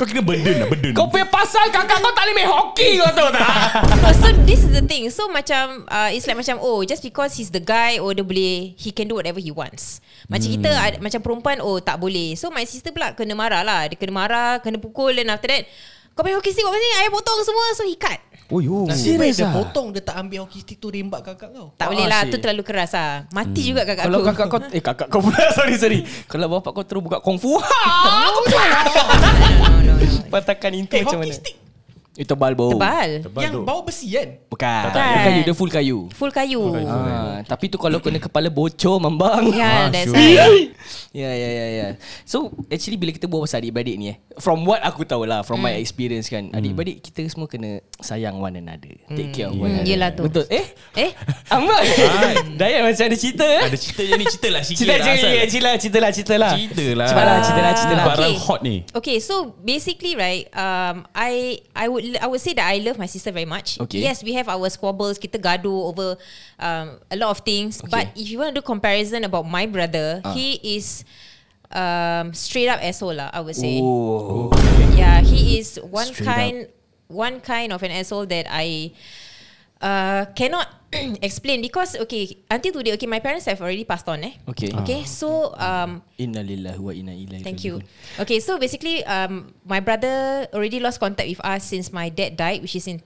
[SPEAKER 2] Kau kena burden lah burden
[SPEAKER 5] Kau punya pasal kakak kau tak boleh main hoki kau tahu tak?
[SPEAKER 1] No, so this is the thing. So macam uh, it's like macam oh just because he's the guy oh dia boleh he can do whatever he wants. Macam kita ad, macam perempuan oh tak boleh. So my sister pula kena marah lah. Dia kena marah, kena pukul then after that kau main hockey stick buat macam ni, ayah potong semua so he cut.
[SPEAKER 2] Oh yo
[SPEAKER 1] Hmm.
[SPEAKER 3] Nasib baik
[SPEAKER 5] Serious
[SPEAKER 3] dia
[SPEAKER 5] ah?
[SPEAKER 3] potong Dia tak ambil hockey stick tu Rembat kakak kau
[SPEAKER 5] Ah,
[SPEAKER 1] Tak boleh lah,
[SPEAKER 5] asyik.
[SPEAKER 1] tu terlalu keras lah. Mati juga kakak
[SPEAKER 5] Kalau
[SPEAKER 1] aku.
[SPEAKER 5] kakak kau eh kakak kau pula sorry sorry. Kalau bapak kau terus buka kungfu.
[SPEAKER 1] no, no, no.
[SPEAKER 5] Patahkan inti
[SPEAKER 3] Eh
[SPEAKER 5] macam
[SPEAKER 3] hockey
[SPEAKER 5] mana?
[SPEAKER 3] stick
[SPEAKER 5] Eh, tebal bau.
[SPEAKER 1] Tebal.
[SPEAKER 3] Yang bau besi kan
[SPEAKER 5] Bukan.
[SPEAKER 1] tak.
[SPEAKER 5] Dia kayu, dia full kayu.
[SPEAKER 1] Full kayu. Ya,
[SPEAKER 5] Ah, tapi tu kalau kena kepala bocor membang.
[SPEAKER 2] Ah,
[SPEAKER 1] Yeah, that's
[SPEAKER 2] sure.
[SPEAKER 1] right.
[SPEAKER 5] Ya ya ya ya. So actually bila kita buat pasal adik-beradik ni eh, from what aku tahu lah, from mm.
[SPEAKER 1] Hmm.
[SPEAKER 5] my experience kan, adik-beradik kita semua kena sayang one another. Take care of one
[SPEAKER 1] Hmm,
[SPEAKER 5] another.
[SPEAKER 1] yelah tu.
[SPEAKER 5] Betul. Eh?
[SPEAKER 1] Eh,
[SPEAKER 5] Amma. Dayat macam ada cerita eh.
[SPEAKER 2] Ada cerita je ni Cerita lah sikit
[SPEAKER 5] Cerita
[SPEAKER 2] lah
[SPEAKER 5] je,
[SPEAKER 2] asal.
[SPEAKER 5] ya, cerita lah, cerita lah, cerita lah.
[SPEAKER 2] Cerita lah
[SPEAKER 5] Cepat lah, cerita lah, cerita lah.
[SPEAKER 1] Ah,
[SPEAKER 2] Barang
[SPEAKER 1] okay.
[SPEAKER 2] hot ni
[SPEAKER 1] Okay, so basically, right? Um, I I would I would say that I love my sister very much.
[SPEAKER 5] Okay.
[SPEAKER 1] Yes, we have our squabbles. Kita gaduh over um, a lot of things. But if you want to do comparison about my brother,
[SPEAKER 5] Ah.
[SPEAKER 1] he is um, straight up asshole lah. I would say.
[SPEAKER 5] Oh.
[SPEAKER 1] Yeah, he is one
[SPEAKER 5] Straight
[SPEAKER 1] kind one kind of an asshole that I uh, cannot explain because okay until today okay my parents have already passed on eh.
[SPEAKER 5] Okay.
[SPEAKER 1] Okay so um
[SPEAKER 5] Inna lillahi Ah. wa inna ilaihi
[SPEAKER 1] Thank you.
[SPEAKER 5] raji'un.
[SPEAKER 1] Okay, so basically, um, my brother already lost contact with us since my dad died, which is in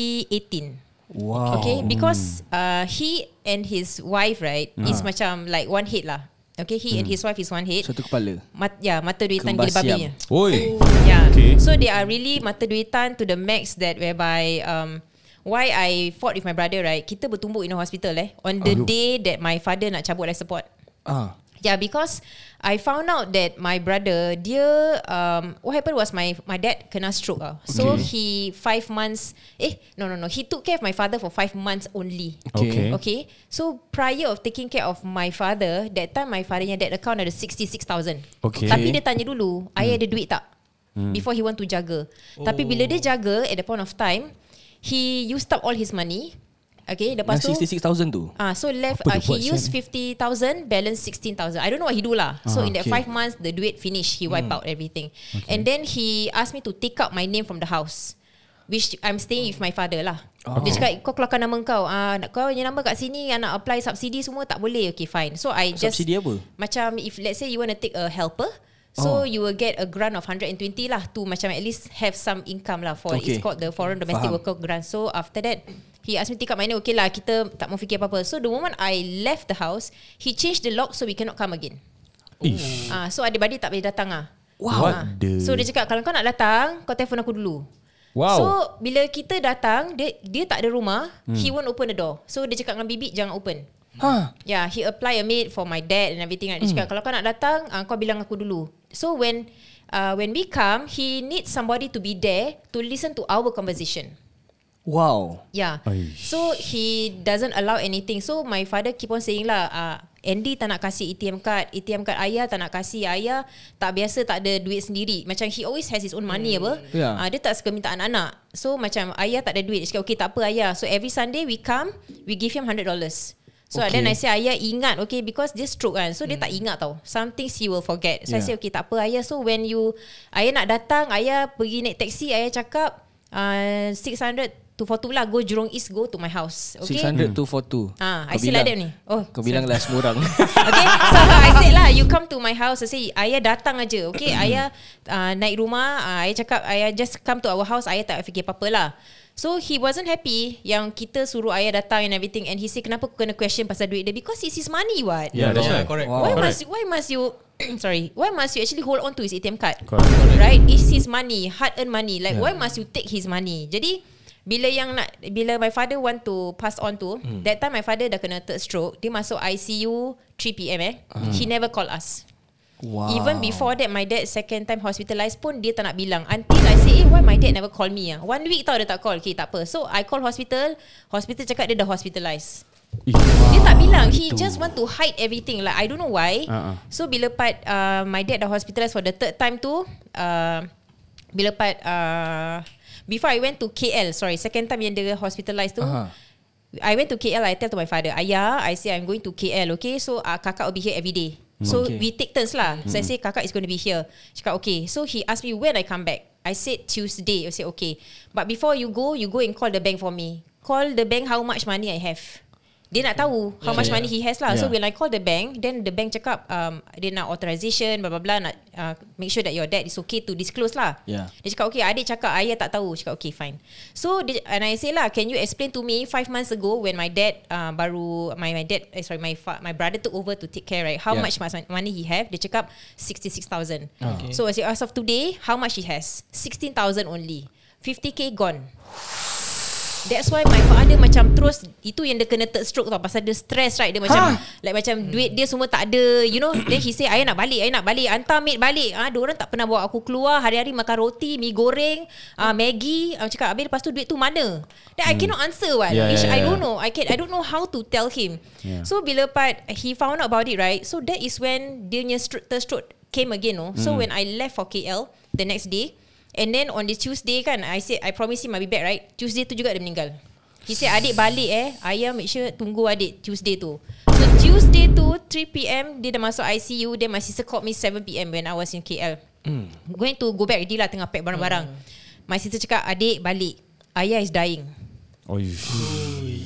[SPEAKER 1] 2018.
[SPEAKER 5] Wow.
[SPEAKER 1] Okay, because uh, he and his wife, right, is macam like one head lah. Okay, he and his wife is one head.
[SPEAKER 5] Satu kepala.
[SPEAKER 1] Mat, yeah, mata duitan
[SPEAKER 5] Kembar
[SPEAKER 1] gila babi.
[SPEAKER 5] siam.
[SPEAKER 2] Oi.
[SPEAKER 1] Yeah.
[SPEAKER 2] Okay.
[SPEAKER 1] So they are really mata duitan to the max that whereby um why I fought with my brother right kita bertumbuk in the hospital eh on the day that my father nak cabut life support.
[SPEAKER 5] Ah.
[SPEAKER 1] Yeah, because I found out that my brother, dia, um, what happened was my my dad kena stroke. Ah.
[SPEAKER 5] Okay.
[SPEAKER 1] So he five months, eh, no, no, no. He took care of my father for five months only.
[SPEAKER 2] Okay.
[SPEAKER 1] Okay. So prior of taking care of my father, that time my fathernya dad account ada 66,000.
[SPEAKER 2] Okay.
[SPEAKER 1] Tapi dia tanya dulu, ayah ada duit tak? Before he want to jaga. Tapi bila dia jaga at the point of time, he used up all his money. Okay, lepas
[SPEAKER 5] Yang
[SPEAKER 1] tu
[SPEAKER 5] 66,000 tu.
[SPEAKER 1] Ah, so left
[SPEAKER 2] Apa
[SPEAKER 1] uh,
[SPEAKER 2] dia buat
[SPEAKER 1] he
[SPEAKER 2] sial
[SPEAKER 1] used
[SPEAKER 2] ni?
[SPEAKER 1] 50,000 balance 16,000. I don't know what he do lah.
[SPEAKER 2] Ah,
[SPEAKER 1] So in that
[SPEAKER 2] okay. Hmm.
[SPEAKER 1] five months the duit finish, he wipe out everything. And then he asked me to take out my name from the house. Which I'm staying with my father lah
[SPEAKER 2] Ah.
[SPEAKER 5] Oh.
[SPEAKER 1] Dia cakap Kau keluarkan nama kau ah, nak- Kau punya nama kat sini ah, Nak apply subsidi semua Tak boleh Okay fine So I just
[SPEAKER 5] Subsidi apa?
[SPEAKER 1] Macam if let's say You want to take a helper So oh. you will get a grant of 120 lah To macam at least Have some income lah For
[SPEAKER 5] Okay.
[SPEAKER 1] it's called the Foreign Domestic
[SPEAKER 5] Faham.
[SPEAKER 1] Worker grant. So after that, he asked me to take up my name. Okay lah, kita tak mau fikir apa-apa. So the moment I left the house, he changed the lock so we cannot come again.
[SPEAKER 2] Ish.
[SPEAKER 1] Ah, uh, so adik-beradik tak boleh datang ah.
[SPEAKER 2] Wow. What
[SPEAKER 1] Ah.
[SPEAKER 2] the-
[SPEAKER 1] So dia cakap kalau kau nak datang, kau telefon aku dulu.
[SPEAKER 2] Wow.
[SPEAKER 1] So bila kita datang, dia dia tak ada rumah, hmm. he won't open the door. So dia cakap dengan bibik jangan open.
[SPEAKER 5] Ha.
[SPEAKER 1] Yeah, Ya, he apply a maid for my dad and everything. Right? Dia cakap, kalau kau nak datang, uh, kau bilang aku dulu. So when uh, when we come, he needs somebody to be there to listen to our conversation.
[SPEAKER 5] Wow.
[SPEAKER 1] Yeah.
[SPEAKER 2] Aish.
[SPEAKER 1] Ya. So he doesn't allow anything. So my father keep on saying lah, uh, Andy tak nak kasih ATM card, ATM card ayah tak nak kasih ayah, tak biasa tak ada duit sendiri. Macam he always has his own money apa.
[SPEAKER 5] Yeah.
[SPEAKER 1] Uh, dia tak suka minta anak-anak. So macam ayah tak ada duit. Dia cakap okay tak apa ayah. So every Sunday we come, we give him $100. So okay.
[SPEAKER 5] Okay.
[SPEAKER 1] then I say ayah ingat okay because dia stroke kan. So dia tak ingat tau. Some things he will forget. So yeah. I
[SPEAKER 5] Yeah.
[SPEAKER 1] say okay tak apa ayah. So when you ayah nak datang, ayah pergi naik taxi, ayah cakap uh, 600 to 42 lah go Jurong East go to my house. Okay.
[SPEAKER 5] 600 tu for two.
[SPEAKER 1] Ah,
[SPEAKER 5] Kau
[SPEAKER 1] I see like
[SPEAKER 5] bilang-
[SPEAKER 1] that ni. Oh,
[SPEAKER 5] Kau bilang lah semua orang.
[SPEAKER 1] Okay So I said lah You come to my house I say Ayah datang aja Okay Ayah uh, naik rumah uh, Ayah cakap Ayah just come to our house Ayah tak fikir apa-apa lah So he wasn't happy Yang kita suruh ayah datang And everything And he say Kenapa kau kena question pasal duit dia Because it's his money what
[SPEAKER 2] Yeah, that's right.
[SPEAKER 3] Yeah, correct.
[SPEAKER 5] Wow.
[SPEAKER 1] Why
[SPEAKER 2] Correct.
[SPEAKER 1] must why must you sorry why must you actually hold on to his ATM card
[SPEAKER 2] Correct.
[SPEAKER 1] right it's his money hard earned money like
[SPEAKER 5] Yeah.
[SPEAKER 1] yeah. why must you take his money jadi bila yang nak bila my father want to pass on to hmm. that time my father dah kena third stroke dia masuk ICU 3 pm eh hmm. he never call us
[SPEAKER 5] wow.
[SPEAKER 1] Even before that My dad second time hospitalised pun Dia tak nak bilang Until I say Eh why my dad never call me ah? One week tau dia tak call Okay tak apa So I call hospital Hospital cakap dia dah hospitalised
[SPEAKER 2] Ish.
[SPEAKER 1] dia tak bilang He just want to hide everything Like I don't know
[SPEAKER 2] Ah,
[SPEAKER 1] why
[SPEAKER 2] ah.
[SPEAKER 1] uh-uh. So bila part uh, My dad dah hospitalised For the third time tu uh, Bila part uh, Before I went to KL Sorry Second time yang dia hospitalised tu
[SPEAKER 5] Aha.
[SPEAKER 1] uh-huh. I went to KL I tell to my father Ayah I say I'm going to KL Okay so uh, kakak will be here every day So
[SPEAKER 5] Okay.
[SPEAKER 1] okay. we take turns lah So I say kakak is going to be here Cakap okay So he asked me when I come back I said Tuesday I said okay But before you go You go and call the bank for me Call the bank how much money I have dia nak tahu how
[SPEAKER 3] Yeah,
[SPEAKER 1] much
[SPEAKER 3] yeah.
[SPEAKER 1] money he has lah. So
[SPEAKER 5] Yeah.
[SPEAKER 1] when I call the bank, then the bank cakap um, dia nak authorization, blah blah blah, nak uh, make sure that your dad is okay to disclose lah.
[SPEAKER 5] Yeah.
[SPEAKER 1] Dia cakap okay, adik cakap ayah tak tahu. Cakap okay, fine. So dia, and I say lah, can you explain to me five months ago when my dad uh, baru my my dad eh, sorry my fa- my brother took over to take care right? How
[SPEAKER 5] Yeah.
[SPEAKER 1] yeah. much mas- money he have? Dia cakap sixty six thousand.
[SPEAKER 3] Okay.
[SPEAKER 1] So I say as of today, how much he has? Sixteen thousand only. 50k gone. That's why my father macam terus itu yang dia kena third stroke tau pasal dia stress right dia macam ha? like macam duit dia semua tak ada you know then he say ayah nak balik ayah nak balik hantar maid balik ah ha, orang tak pernah bawa aku keluar hari-hari makan roti mi goreng ah Maggi aku cakap habis lepas tu duit tu mana then I cannot answer what
[SPEAKER 2] Yeah,
[SPEAKER 1] yeah, which
[SPEAKER 2] yeah, yeah.
[SPEAKER 1] yeah, I don't know I can I don't know how to tell him
[SPEAKER 2] Yeah.
[SPEAKER 1] yeah. so bila part he found out about it right so that is when dia punya stro- third stroke came again no so when I left for KL the next day And then on the Tuesday kan I said I promise him I'll be back right Tuesday tu juga dia meninggal He said adik balik eh Ayah make sure tunggu adik Tuesday tu So Tuesday tu 3pm Dia dah masuk ICU Then my sister called me 7pm When I was in KL mm. Going to go back already lah Tengah pack barang-barang My sister cakap Adik balik Ayah is dying
[SPEAKER 2] Oh, ish.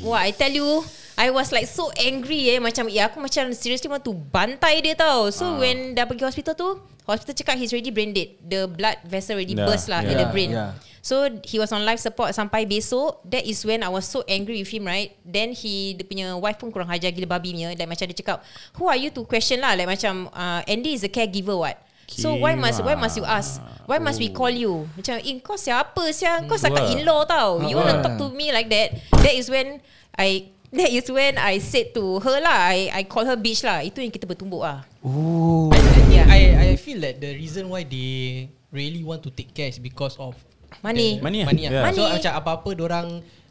[SPEAKER 1] Wah, I tell you, I was like so angry eh macam ya aku macam seriously want to bantai dia tau.
[SPEAKER 2] Ah.
[SPEAKER 1] So when dah pergi hospital tu, hospital cakap he's already brain dead. The blood vessel already
[SPEAKER 2] Yeah,
[SPEAKER 1] burst lah
[SPEAKER 2] yeah.
[SPEAKER 1] in the brain.
[SPEAKER 5] Yeah, yeah.
[SPEAKER 1] So he was on life support sampai besok. That is when I was so angry with him right. Then he dia punya wife pun kurang hajar gila babi punya. Like macam dia cakap, "Who are you to question lah?" Like macam uh, Andy is a caregiver what. So why must why must you ask? Why must
[SPEAKER 2] Oh.
[SPEAKER 1] we call you? Macam, "Eh, kau siapa siang? Kau
[SPEAKER 2] Wah.
[SPEAKER 1] sakat in-law tau. You want to talk to me like that?" That is when I That is when I said to her lah I, I call her bitch lah Itu yang kita bertumbuk lah
[SPEAKER 3] I, I, think
[SPEAKER 1] Yeah.
[SPEAKER 3] I, I feel that the reason why they really want to take care is because of
[SPEAKER 1] Money.
[SPEAKER 3] the
[SPEAKER 2] Money ah.
[SPEAKER 3] Money, ah.
[SPEAKER 2] Yeah.
[SPEAKER 3] So
[SPEAKER 1] Money.
[SPEAKER 3] macam apa-apa orang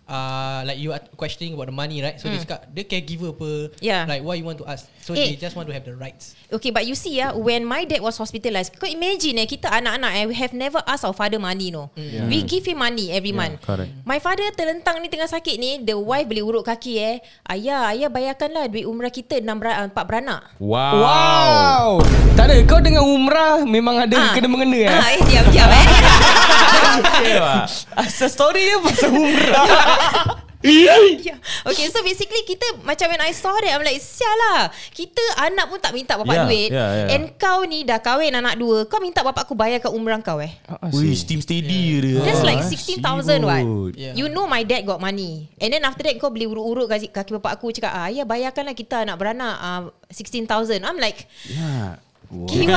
[SPEAKER 3] uh, like you are questioning about the money, right? So mm. dia cakap dia caregiver apa?
[SPEAKER 1] Yeah.
[SPEAKER 3] Like why you want to ask? So
[SPEAKER 1] Hmm. Ya. Eh.
[SPEAKER 3] they just want to have the rights.
[SPEAKER 1] Okay but you see ah When my dad was hospitalised Kau imagine eh Kita anak-anak eh We have never asked our father money no Mm. yeah. We give him money every yeah, month
[SPEAKER 2] correct.
[SPEAKER 1] My father terlentang ni Tengah sakit ni The wife boleh urut kaki eh Ayah Ayah bayarkanlah Duit umrah kita 6 beranak 4 beranak
[SPEAKER 2] Wow.
[SPEAKER 5] Wow. Tak ada kau dengan umrah memang ada
[SPEAKER 1] Ah.
[SPEAKER 5] kena mengena eh.
[SPEAKER 1] ah, eh, Diam-diam eh
[SPEAKER 2] Okay,
[SPEAKER 1] lah. Ah.
[SPEAKER 2] Wak.
[SPEAKER 5] Asal story dia pasal umrah.
[SPEAKER 1] yeah. Ya. Okay so basically Kita macam when I saw that I'm like Sial lah Kita anak pun tak minta
[SPEAKER 2] Yeah,
[SPEAKER 1] bapak duit
[SPEAKER 2] yeah, yeah.
[SPEAKER 1] And kau ni dah kahwin anak dua Kau minta bapak aku bayar kat umrah kau eh
[SPEAKER 2] Wih, steam steady dia.
[SPEAKER 1] That's
[SPEAKER 2] Ah,
[SPEAKER 1] like 16,000 what
[SPEAKER 2] sibuk.
[SPEAKER 3] Yeah.
[SPEAKER 1] You know my dad got money And then after that Kau beli urut-urut kaki, kaki bapak aku Cakap ah, Ayah bayarkanlah kita anak beranak uh, 16,000 I'm like
[SPEAKER 2] Yeah.
[SPEAKER 1] Kiwa
[SPEAKER 2] Kiwa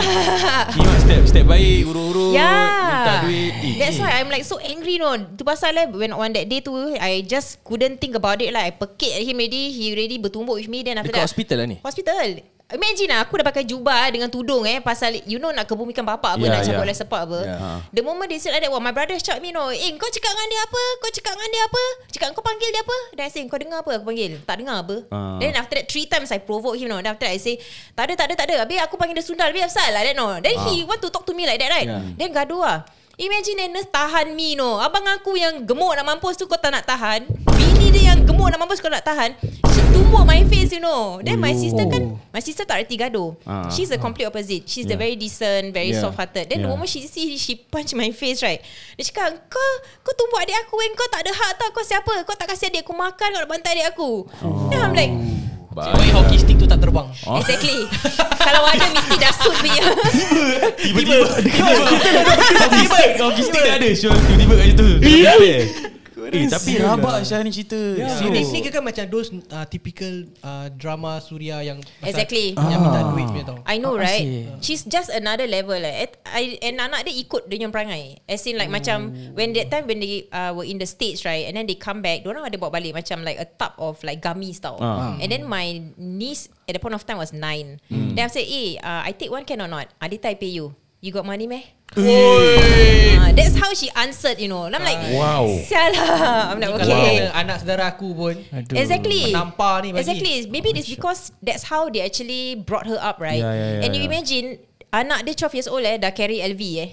[SPEAKER 2] Ya. step step baik urut-urut Oh, minta
[SPEAKER 1] Yeah
[SPEAKER 2] duit. Eh,
[SPEAKER 1] "Ya." That's
[SPEAKER 2] eh.
[SPEAKER 1] why I'm like so angry no Tu pasal eh When on that day tu I just couldn't think about it lah I pekik at him already He already bertumbuk with me Then after
[SPEAKER 5] Dekat
[SPEAKER 1] that
[SPEAKER 5] hospital lah ni?
[SPEAKER 1] Hospital Imagine lah Aku dah pakai jubah eh, Dengan tudung eh Pasal you know Nak kebumikan bapak apa
[SPEAKER 5] Ya,
[SPEAKER 2] Yeah,
[SPEAKER 1] Nak lah cabut
[SPEAKER 2] yeah.
[SPEAKER 1] life support apa
[SPEAKER 5] Yeah.
[SPEAKER 1] yeah. The moment they said like that well, My brother shout me no Eh kau cakap dengan dia apa Kau cakap dengan dia apa Cakap kau panggil dia apa Then I say kau dengar apa Aku panggil Tak dengar apa
[SPEAKER 2] Ah.
[SPEAKER 1] uh. Then after that Three times I provoke him no Then after that I say Tak ada tak ada tak ada Habis aku panggil dia sundal Habis apa lah Then no Then he want to talk to me like that right
[SPEAKER 5] Yeah.
[SPEAKER 1] yeah. Then gaduh lah Imagine that nurse tahan me no Abang aku yang gemuk nak mampus tu Kau tak nak tahan Bini dia yang gemuk nak mampus Kau nak tahan She tumbuk my face you know Then my sister kan My sister tak reti gaduh
[SPEAKER 2] Ah.
[SPEAKER 1] She's the complete opposite She's
[SPEAKER 2] Yeah.
[SPEAKER 1] the very decent Very
[SPEAKER 5] Yeah.
[SPEAKER 1] soft hearted Then the
[SPEAKER 2] Yeah.
[SPEAKER 1] woman she see She punch my face right Dia cakap Kau Kau tumbuk adik aku kan Kau tak ada hak tau Kau siapa Kau tak kasih adik aku makan Kau nak bantai adik aku Then I'm like
[SPEAKER 2] Baik.
[SPEAKER 3] Why hockey stick tu tak terbang?
[SPEAKER 2] Oh.
[SPEAKER 1] Exactly Kalau ada mesti dah suit punya
[SPEAKER 2] Tiba-tiba Tiba-tiba Hockey stick dah ada Syul tiba-tiba kat situ Eh tapi
[SPEAKER 5] lah.
[SPEAKER 2] rabak Syah ni cerita
[SPEAKER 5] Ya.
[SPEAKER 3] Ini
[SPEAKER 2] Serius
[SPEAKER 3] ni kan macam those uh, typical uh, drama Suria yang pasal-
[SPEAKER 1] Exactly.
[SPEAKER 3] yang minta
[SPEAKER 2] Ah.
[SPEAKER 3] duit punya tau.
[SPEAKER 1] I
[SPEAKER 5] Oh,
[SPEAKER 1] know
[SPEAKER 5] I
[SPEAKER 1] right
[SPEAKER 5] see.
[SPEAKER 1] She's just another level like. At, I, And anak dia ikut Dia punya perangai As in like macam
[SPEAKER 5] Oh.
[SPEAKER 1] When that time When they uh, were in the States right And then they come back Diorang ada bawa balik Macam like a tub of Like gummies tau
[SPEAKER 2] Ah.
[SPEAKER 1] And then my niece At the point of time was nine
[SPEAKER 5] Hmm.
[SPEAKER 1] Then I said Eh uh, I take one can or not Adita I pay you You got money meh? Uh, that's how she answered You know And I'm like
[SPEAKER 2] Wow.
[SPEAKER 1] Sial lah I'm like
[SPEAKER 3] Kalau
[SPEAKER 1] okay
[SPEAKER 3] ada anak saudara aku pun
[SPEAKER 5] Aduh.
[SPEAKER 1] Exactly.
[SPEAKER 3] Menampar ni bagi.
[SPEAKER 1] Exactly. Maybe it's because that's how they actually brought her up, right?
[SPEAKER 2] Yeah, yeah, yeah,
[SPEAKER 1] And you
[SPEAKER 2] yeah.
[SPEAKER 1] imagine anak dia 12 years old eh dah carry LV eh.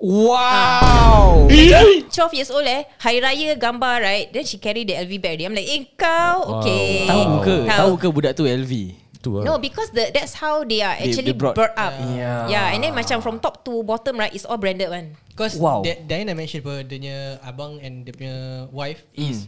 [SPEAKER 5] Wow.
[SPEAKER 1] Ah. 12 years old eh Hari Raya gambar right Then she carry the LV bag dia I'm like Eh kau Okay
[SPEAKER 5] Tahu
[SPEAKER 3] Oh.
[SPEAKER 5] ke? Tahu ke budak tu LV?
[SPEAKER 2] Tu lah
[SPEAKER 1] No because the, that's how they are
[SPEAKER 5] They- they
[SPEAKER 1] actually
[SPEAKER 5] brought-
[SPEAKER 1] brought up
[SPEAKER 5] Yeah.
[SPEAKER 1] yeah and then macam from top to bottom right It's all branded one
[SPEAKER 3] Because
[SPEAKER 5] Wow.
[SPEAKER 3] wow. that Diana mentioned apa dia punya abang and dia punya wife is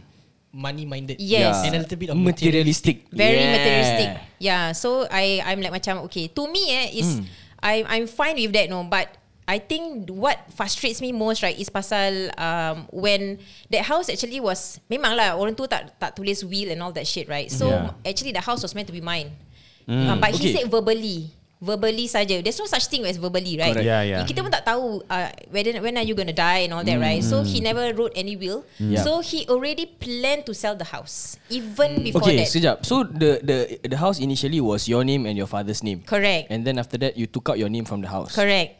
[SPEAKER 3] money minded.
[SPEAKER 1] Yes.
[SPEAKER 3] And a little bit of
[SPEAKER 5] Hmm. materialistic.
[SPEAKER 1] very
[SPEAKER 5] Yeah.
[SPEAKER 1] yeah. materialistic. Yeah, so I I'm like macam okay. To me eh is
[SPEAKER 5] Hmm.
[SPEAKER 1] mm. I I'm fine with that no, but I think what frustrates me most right is pasal um, when that house actually was memang lah orang tu tak tak tulis will and all that shit right. So
[SPEAKER 2] Yeah.
[SPEAKER 1] actually the house was meant to be mine. Mm. Um, but okay. he
[SPEAKER 5] Hmm, Okay.
[SPEAKER 1] said verbally verbally saja there's no such thing as verbally right
[SPEAKER 2] Correct. Yeah, yeah.
[SPEAKER 1] kita pun tak tahu uh, whether when are you going to die and all that right so he never wrote any will
[SPEAKER 5] Hmm. Yeah.
[SPEAKER 1] so he already planned to sell the house even before
[SPEAKER 5] Hmm. Okay,
[SPEAKER 1] that
[SPEAKER 5] sekejap. So the the the house initially was your name and your father's name.
[SPEAKER 1] Correct.
[SPEAKER 5] And then after that you took out your name from the house.
[SPEAKER 1] Correct.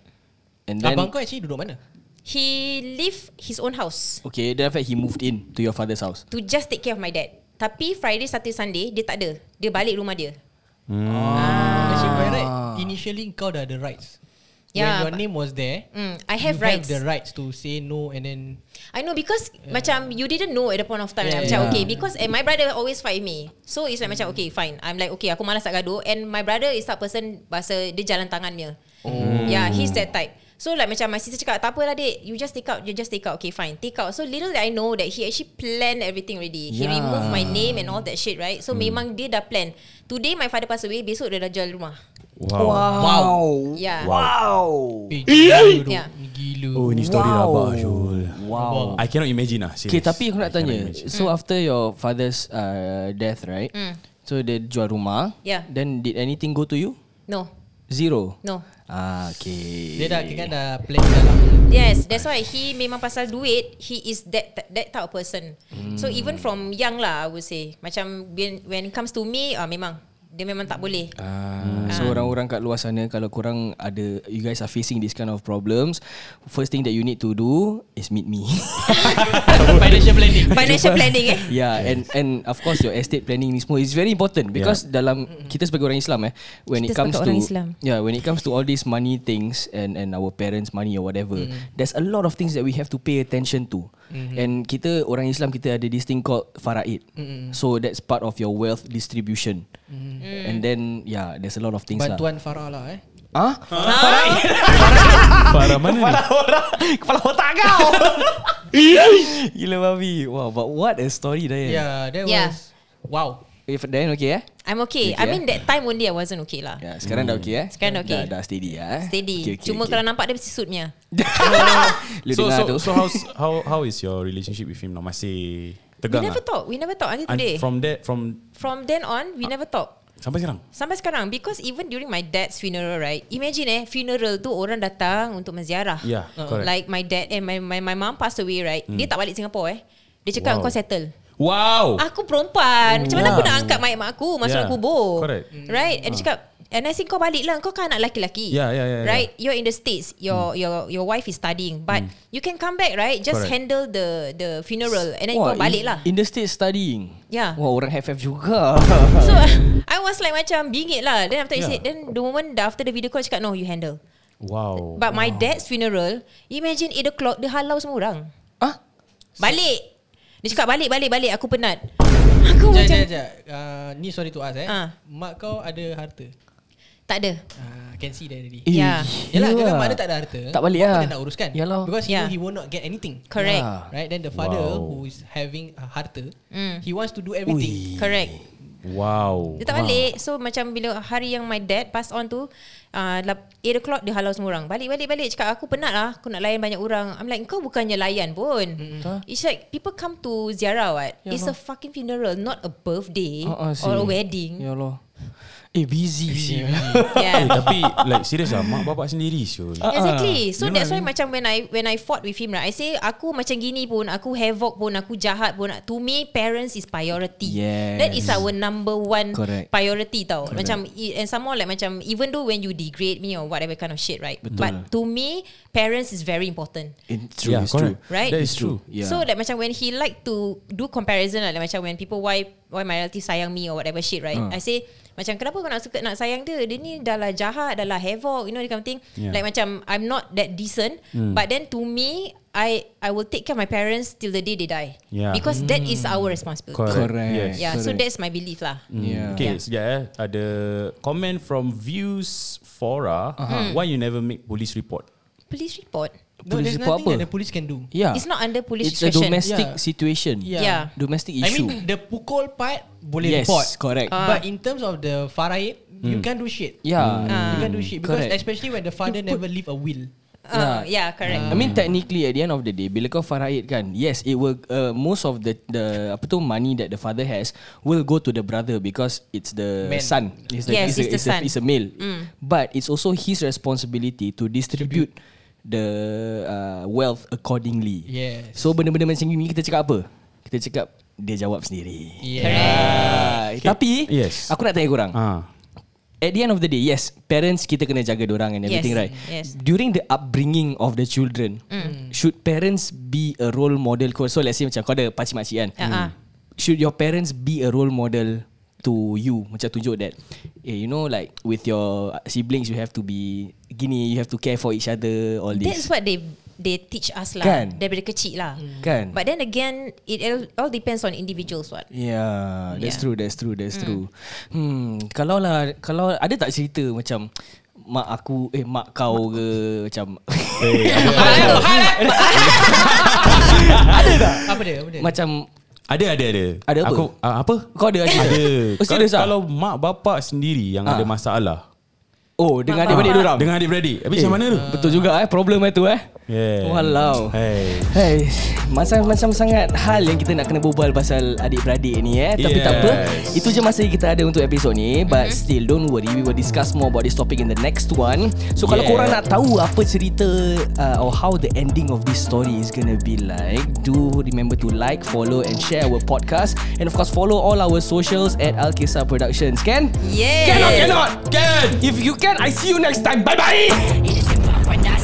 [SPEAKER 5] And
[SPEAKER 3] Then,
[SPEAKER 5] then
[SPEAKER 3] abang kau actually duduk mana?
[SPEAKER 1] He live his own house
[SPEAKER 5] Okay, then after that he moved in to your father's house.
[SPEAKER 1] to just take care of my dad. Tapi Friday, Saturday, Sunday dia tak ada. Dia balik rumah dia.
[SPEAKER 3] Actually by right initially kau dah ada rights.
[SPEAKER 1] Yeah,
[SPEAKER 3] When your
[SPEAKER 1] but-
[SPEAKER 3] name was there,
[SPEAKER 1] Mm, I have
[SPEAKER 3] you have
[SPEAKER 1] rights.
[SPEAKER 3] the rights to say no and then
[SPEAKER 1] I know because yeah. macam you didn't know at the point of time. Yeah,
[SPEAKER 3] Yeah,
[SPEAKER 1] like, macam
[SPEAKER 5] yeah.
[SPEAKER 1] okay because and my brother always fight me. So it's like macam okay fine. I'm like okay aku malas nak gaduh and my brother is that person bahasa dia jalan tangannya. Oh. Yeah, he's that type. So like macam my sister cakap Tak apalah dek You just take out You just take out Okay fine Take out So little that I know That he actually plan everything already yeah. He
[SPEAKER 5] Yeah.
[SPEAKER 1] remove my name And all that shit right So hmm. memang dia dah plan Today my father pass away Besok dia dah jual rumah
[SPEAKER 2] Wow.
[SPEAKER 5] Wow.
[SPEAKER 1] Yeah wow.
[SPEAKER 5] Wow.
[SPEAKER 3] Eh, gila. Yeah.
[SPEAKER 1] Yeah.
[SPEAKER 3] Gila.
[SPEAKER 2] Oh, ini story wow. rabak, Syul.
[SPEAKER 5] Wow.
[SPEAKER 2] I cannot imagine lah.
[SPEAKER 5] Okay,
[SPEAKER 2] serious.
[SPEAKER 5] tapi aku
[SPEAKER 2] I
[SPEAKER 5] nak
[SPEAKER 2] cannot
[SPEAKER 5] tanya.
[SPEAKER 2] imagine.
[SPEAKER 5] So
[SPEAKER 1] Hmm.
[SPEAKER 5] after your father's uh, death, right? So dia jual rumah.
[SPEAKER 1] Yeah.
[SPEAKER 5] Then did anything go to you?
[SPEAKER 1] No
[SPEAKER 5] Zero.
[SPEAKER 1] No
[SPEAKER 5] Ah, okay.
[SPEAKER 3] Dia dah kan dah plan dah lama.
[SPEAKER 1] Yes, that's why he memang pasal duit, he is that that type of person. Mm. So even from young lah, I would say macam when when it comes to me, ah memang dia memang tak boleh.
[SPEAKER 5] Ah, so orang-orang kat luar sana kalau kurang ada you guys are facing this kind of problems, first thing that you need to do is meet me.
[SPEAKER 3] Financial planning.
[SPEAKER 1] Financial planning eh.
[SPEAKER 5] yeah, and and of course your estate planning ni semua is very important because yeah. dalam kita sebagai orang Islam eh when
[SPEAKER 1] Kita
[SPEAKER 5] it comes to
[SPEAKER 1] sebagai orang Islam.
[SPEAKER 5] yeah, when it comes to all these money things and and our parents money or whatever,
[SPEAKER 1] Mm.
[SPEAKER 5] there's a lot of things that we have to pay attention to.
[SPEAKER 1] Mm-hmm.
[SPEAKER 5] And kita orang Islam kita ada this thing called faraid. So that's part of your wealth distribution.
[SPEAKER 1] Mm-hmm.
[SPEAKER 5] And then yeah, there's a lot of things lah.
[SPEAKER 3] Bantuan Farah lah eh.
[SPEAKER 5] Ah?
[SPEAKER 2] Farah mana ni?
[SPEAKER 5] Kepala otak kau Gila babi Wow but what a story ya. Dayan
[SPEAKER 3] Yeah, that
[SPEAKER 1] Yeah.
[SPEAKER 3] was wow.
[SPEAKER 5] If Dayan okay eh
[SPEAKER 1] I'm okay.
[SPEAKER 5] Okay,
[SPEAKER 1] I
[SPEAKER 5] eh?
[SPEAKER 1] mean that time only I wasn't okay lah. Yeah.
[SPEAKER 5] Ya sekarang dah okay eh
[SPEAKER 1] Sekarang dah okay.
[SPEAKER 5] Dah, dah steady ya eh?
[SPEAKER 1] Steady.
[SPEAKER 5] okay, okay,
[SPEAKER 1] Cuma
[SPEAKER 5] okay.
[SPEAKER 1] okay. kalau nampak dia mesti suitnya.
[SPEAKER 5] Lu
[SPEAKER 2] so,
[SPEAKER 5] dengar
[SPEAKER 2] so,
[SPEAKER 5] tu
[SPEAKER 2] so how's, how how is your relationship with him now? Masih
[SPEAKER 1] We
[SPEAKER 2] tegang
[SPEAKER 1] never
[SPEAKER 2] lah?
[SPEAKER 1] talk. We never talk until
[SPEAKER 2] And
[SPEAKER 1] today. From,
[SPEAKER 2] from that, from
[SPEAKER 1] from then on, we never talk.
[SPEAKER 2] sampai sekarang?
[SPEAKER 1] Sampai sekarang Because even during my dad's funeral right Imagine eh Funeral tu orang datang Untuk menziarah Uh,
[SPEAKER 2] Yeah, Uh-uh. correct.
[SPEAKER 1] Like my dad And my my, my mom passed away right Dia tak balik Singapore eh Dia
[SPEAKER 2] Wow.
[SPEAKER 1] cakap wow. kau settle
[SPEAKER 2] Wow.
[SPEAKER 1] Aku perempuan Macam mana aku nak angkat mayat mak aku
[SPEAKER 2] Oh. Yeah,
[SPEAKER 1] Masuk yeah. kubur
[SPEAKER 2] correct.
[SPEAKER 1] Right And dia cakap And I say kau balik lah Kau kan anak lelaki-lelaki
[SPEAKER 2] Yeah, yeah, yeah, yeah.
[SPEAKER 1] Right You're in the States Your your your wife is studying But you can come back right
[SPEAKER 2] Hmm.
[SPEAKER 1] Just
[SPEAKER 2] Correct.
[SPEAKER 1] handle the the funeral And then
[SPEAKER 5] Wah,
[SPEAKER 1] kau balik
[SPEAKER 5] in-
[SPEAKER 1] lah
[SPEAKER 5] In the state studying
[SPEAKER 1] Yeah.
[SPEAKER 5] Wah orang FF juga
[SPEAKER 1] So I was like macam bingit lah Then after yeah.
[SPEAKER 2] Yeah.
[SPEAKER 1] said Then the moment dah after the video call Cakap no you handle
[SPEAKER 2] Oh, Wow.
[SPEAKER 1] But my dad's funeral Imagine 8 o'clock Dia halau semua orang
[SPEAKER 5] Ah?
[SPEAKER 1] Balik Dia cakap balik balik balik Aku penat Aku
[SPEAKER 3] Jap,
[SPEAKER 1] macam
[SPEAKER 3] jap, jap. Uh, ni sorry to ask eh.
[SPEAKER 1] Ah.
[SPEAKER 3] Mak kau ada harta.
[SPEAKER 1] Tak ada
[SPEAKER 3] Ah, can see there already.
[SPEAKER 5] Eh,
[SPEAKER 1] Yeah.
[SPEAKER 3] Yalah,
[SPEAKER 5] gila
[SPEAKER 3] kalau
[SPEAKER 5] lah.
[SPEAKER 3] mak dia tak ada harta.
[SPEAKER 5] Tak balik lah
[SPEAKER 3] Apa dia nak uruskan?
[SPEAKER 5] Yalah
[SPEAKER 3] Because he
[SPEAKER 1] Yeah.
[SPEAKER 3] know he will not get anything. Ah.
[SPEAKER 1] Correct
[SPEAKER 5] Yeah.
[SPEAKER 3] Right? Then the father
[SPEAKER 2] Wow.
[SPEAKER 3] who is having a harta, he wants to do everything.
[SPEAKER 1] Hmm. Correct
[SPEAKER 2] Wow.
[SPEAKER 1] Dia tak balik So macam bila hari yang my dad pass on tu uh, lap- 8 o'clock dia halau semua orang Balik balik balik Cakap aku penat lah Aku nak layan banyak orang I'm like kau bukannya layan pun It's like people come to ziarah what
[SPEAKER 5] Ya
[SPEAKER 1] It's
[SPEAKER 5] lah.
[SPEAKER 1] a fucking funeral Not a birthday
[SPEAKER 5] Ah, ah, si.
[SPEAKER 1] Or a wedding
[SPEAKER 5] Ya Allah Eh busy Busy
[SPEAKER 2] Eh,
[SPEAKER 1] Yeah
[SPEAKER 2] tapi like serius lah mak bapak sendiri Syul.
[SPEAKER 5] Ah,
[SPEAKER 1] Exactly.
[SPEAKER 2] You
[SPEAKER 1] So
[SPEAKER 2] know
[SPEAKER 1] that's
[SPEAKER 2] what I
[SPEAKER 1] why macam when I when I fought with him right, I say aku macam gini pun, aku havoc pun, aku jahat pun. To me, parents is priority.
[SPEAKER 5] Yes.
[SPEAKER 1] That is our number one
[SPEAKER 5] Correct.
[SPEAKER 1] priority tau. Correct. Macam i- and some more like macam even though when you degrade me or whatever kind of shit right,
[SPEAKER 5] Betul.
[SPEAKER 1] but to me, parents is very important.
[SPEAKER 5] It's true
[SPEAKER 2] Yeah,
[SPEAKER 5] It's true
[SPEAKER 2] correct.
[SPEAKER 1] Right?
[SPEAKER 2] That is true.
[SPEAKER 5] Yeah.
[SPEAKER 1] So like macam when he like to do comparison lah, like macam when people why why my relative sayang me or whatever shit right.
[SPEAKER 5] Ah.
[SPEAKER 1] I say macam kenapa kau nak suka nak sayang dia? Dia ni dah lah jahat, dah lah havoc, you know that kind of thing.
[SPEAKER 2] Yeah.
[SPEAKER 1] Like macam I'm not that decent,
[SPEAKER 5] Hmm.
[SPEAKER 1] but then to me I I will take care of my parents till the day they die.
[SPEAKER 2] Yeah.
[SPEAKER 1] Because that is our responsibility.
[SPEAKER 5] Hmm. Correct Mm.
[SPEAKER 2] Yes.
[SPEAKER 1] Yeah, so that's my belief lah.
[SPEAKER 5] Yeah.
[SPEAKER 2] Okay, sekejap eh. Ada comment from Views Fora.
[SPEAKER 5] Uh-huh.
[SPEAKER 1] Hmm.
[SPEAKER 2] Why you never make police report?
[SPEAKER 1] Police report.
[SPEAKER 3] No,
[SPEAKER 5] Police
[SPEAKER 3] there's
[SPEAKER 5] report
[SPEAKER 3] nothing
[SPEAKER 5] apa?
[SPEAKER 3] that the police can do.
[SPEAKER 5] Yeah
[SPEAKER 1] It's not under police
[SPEAKER 5] It's a
[SPEAKER 1] discretion.
[SPEAKER 5] domestic
[SPEAKER 3] Yeah.
[SPEAKER 5] situation
[SPEAKER 3] Yeah.
[SPEAKER 1] Yeah.
[SPEAKER 5] Domestic
[SPEAKER 3] I
[SPEAKER 5] issue
[SPEAKER 3] mean, the pukul part boleh
[SPEAKER 5] Yes
[SPEAKER 3] report.
[SPEAKER 5] correct Hmm.
[SPEAKER 3] But in terms of the faraid, you can't do shit.
[SPEAKER 5] Yeah Hmm.
[SPEAKER 3] You can't do shit because
[SPEAKER 5] Correct.
[SPEAKER 3] especially when the father never leave a will.
[SPEAKER 1] Uh, yeah, correct.
[SPEAKER 5] I mean technically at the end of the day bila kau faraid kan yes it will uh, most of the the apa tu money that the father has will go to the brother because it's the
[SPEAKER 3] Man.
[SPEAKER 5] son it's the,
[SPEAKER 1] Yes,
[SPEAKER 5] it's, a,
[SPEAKER 1] it's the son. Mm.
[SPEAKER 5] it's a male but it's also his responsibility to distribute the uh, wealth accordingly
[SPEAKER 3] Yes.
[SPEAKER 5] so benda-benda macam ni kita cakap apa kita cakap dia jawab sendiri
[SPEAKER 3] Yeah.
[SPEAKER 5] Ah, tapi
[SPEAKER 2] Yes.
[SPEAKER 5] aku nak tanya korang
[SPEAKER 2] Ah.
[SPEAKER 5] at the end of the day, yes, parents kita kena jaga orang and everything,
[SPEAKER 1] Yes,
[SPEAKER 5] right?
[SPEAKER 1] yes.
[SPEAKER 5] During the upbringing of the children, mm. should parents be a role model? Kau- So let's say macam kau ada pakcik makcik kan?
[SPEAKER 1] Ah, ah.
[SPEAKER 5] Should your parents be a role model to you? Macam tunjuk that, eh, you know like with your siblings, you have to be gini, you have to care for each other, all
[SPEAKER 1] That's
[SPEAKER 5] this.
[SPEAKER 1] what they they teach us lah
[SPEAKER 5] Kan?
[SPEAKER 1] daripada kecil lah.
[SPEAKER 5] Kan?
[SPEAKER 1] But then again, it all- all depends on individuals what.
[SPEAKER 5] Yeah, that's
[SPEAKER 1] Yeah. Mm.
[SPEAKER 5] true, that's true, that's true. Hmm, kalau lah, kalau ada tak cerita macam mak aku, eh mak kau ke macam
[SPEAKER 2] Eh, abang-
[SPEAKER 3] Apa dia? Apa dia?
[SPEAKER 5] Macam
[SPEAKER 2] ada ada ada.
[SPEAKER 5] Ada apa?
[SPEAKER 2] Aku ah, apa?
[SPEAKER 5] kau ada ada.
[SPEAKER 2] Ada.
[SPEAKER 5] Oh,
[SPEAKER 2] kalau,
[SPEAKER 5] serius ah?
[SPEAKER 2] kalau mak bapak sendiri yang ada
[SPEAKER 5] Ah.
[SPEAKER 2] masalah
[SPEAKER 5] Oh, dengan adik-adik
[SPEAKER 1] Ah.
[SPEAKER 5] diorang.
[SPEAKER 2] dengan adik-beradik. Habis macam mana tu?
[SPEAKER 5] Betul juga eh problem itu eh.
[SPEAKER 2] Yeah.
[SPEAKER 5] Walau.
[SPEAKER 2] Hey.
[SPEAKER 5] Hey, macam-macam sangat hal yang kita nak kena berbual pasal adik-beradik ni eh. Tapi tak apa,
[SPEAKER 2] Yes.
[SPEAKER 5] itu je masa kita ada untuk episod ni. But still, don't worry. We will discuss more about this topic in the next one. So kalau
[SPEAKER 2] Yeah.
[SPEAKER 5] korang nak tahu apa cerita uh, or how the ending of this story is gonna be like, do remember to like, follow and share our podcast. And of course, follow all our socials at Alkisa Productions. Can?
[SPEAKER 1] Yes.
[SPEAKER 5] Cannot, cannot. Can. If you can, I see you next time. Bye-bye.
[SPEAKER 4] Ini sembang panas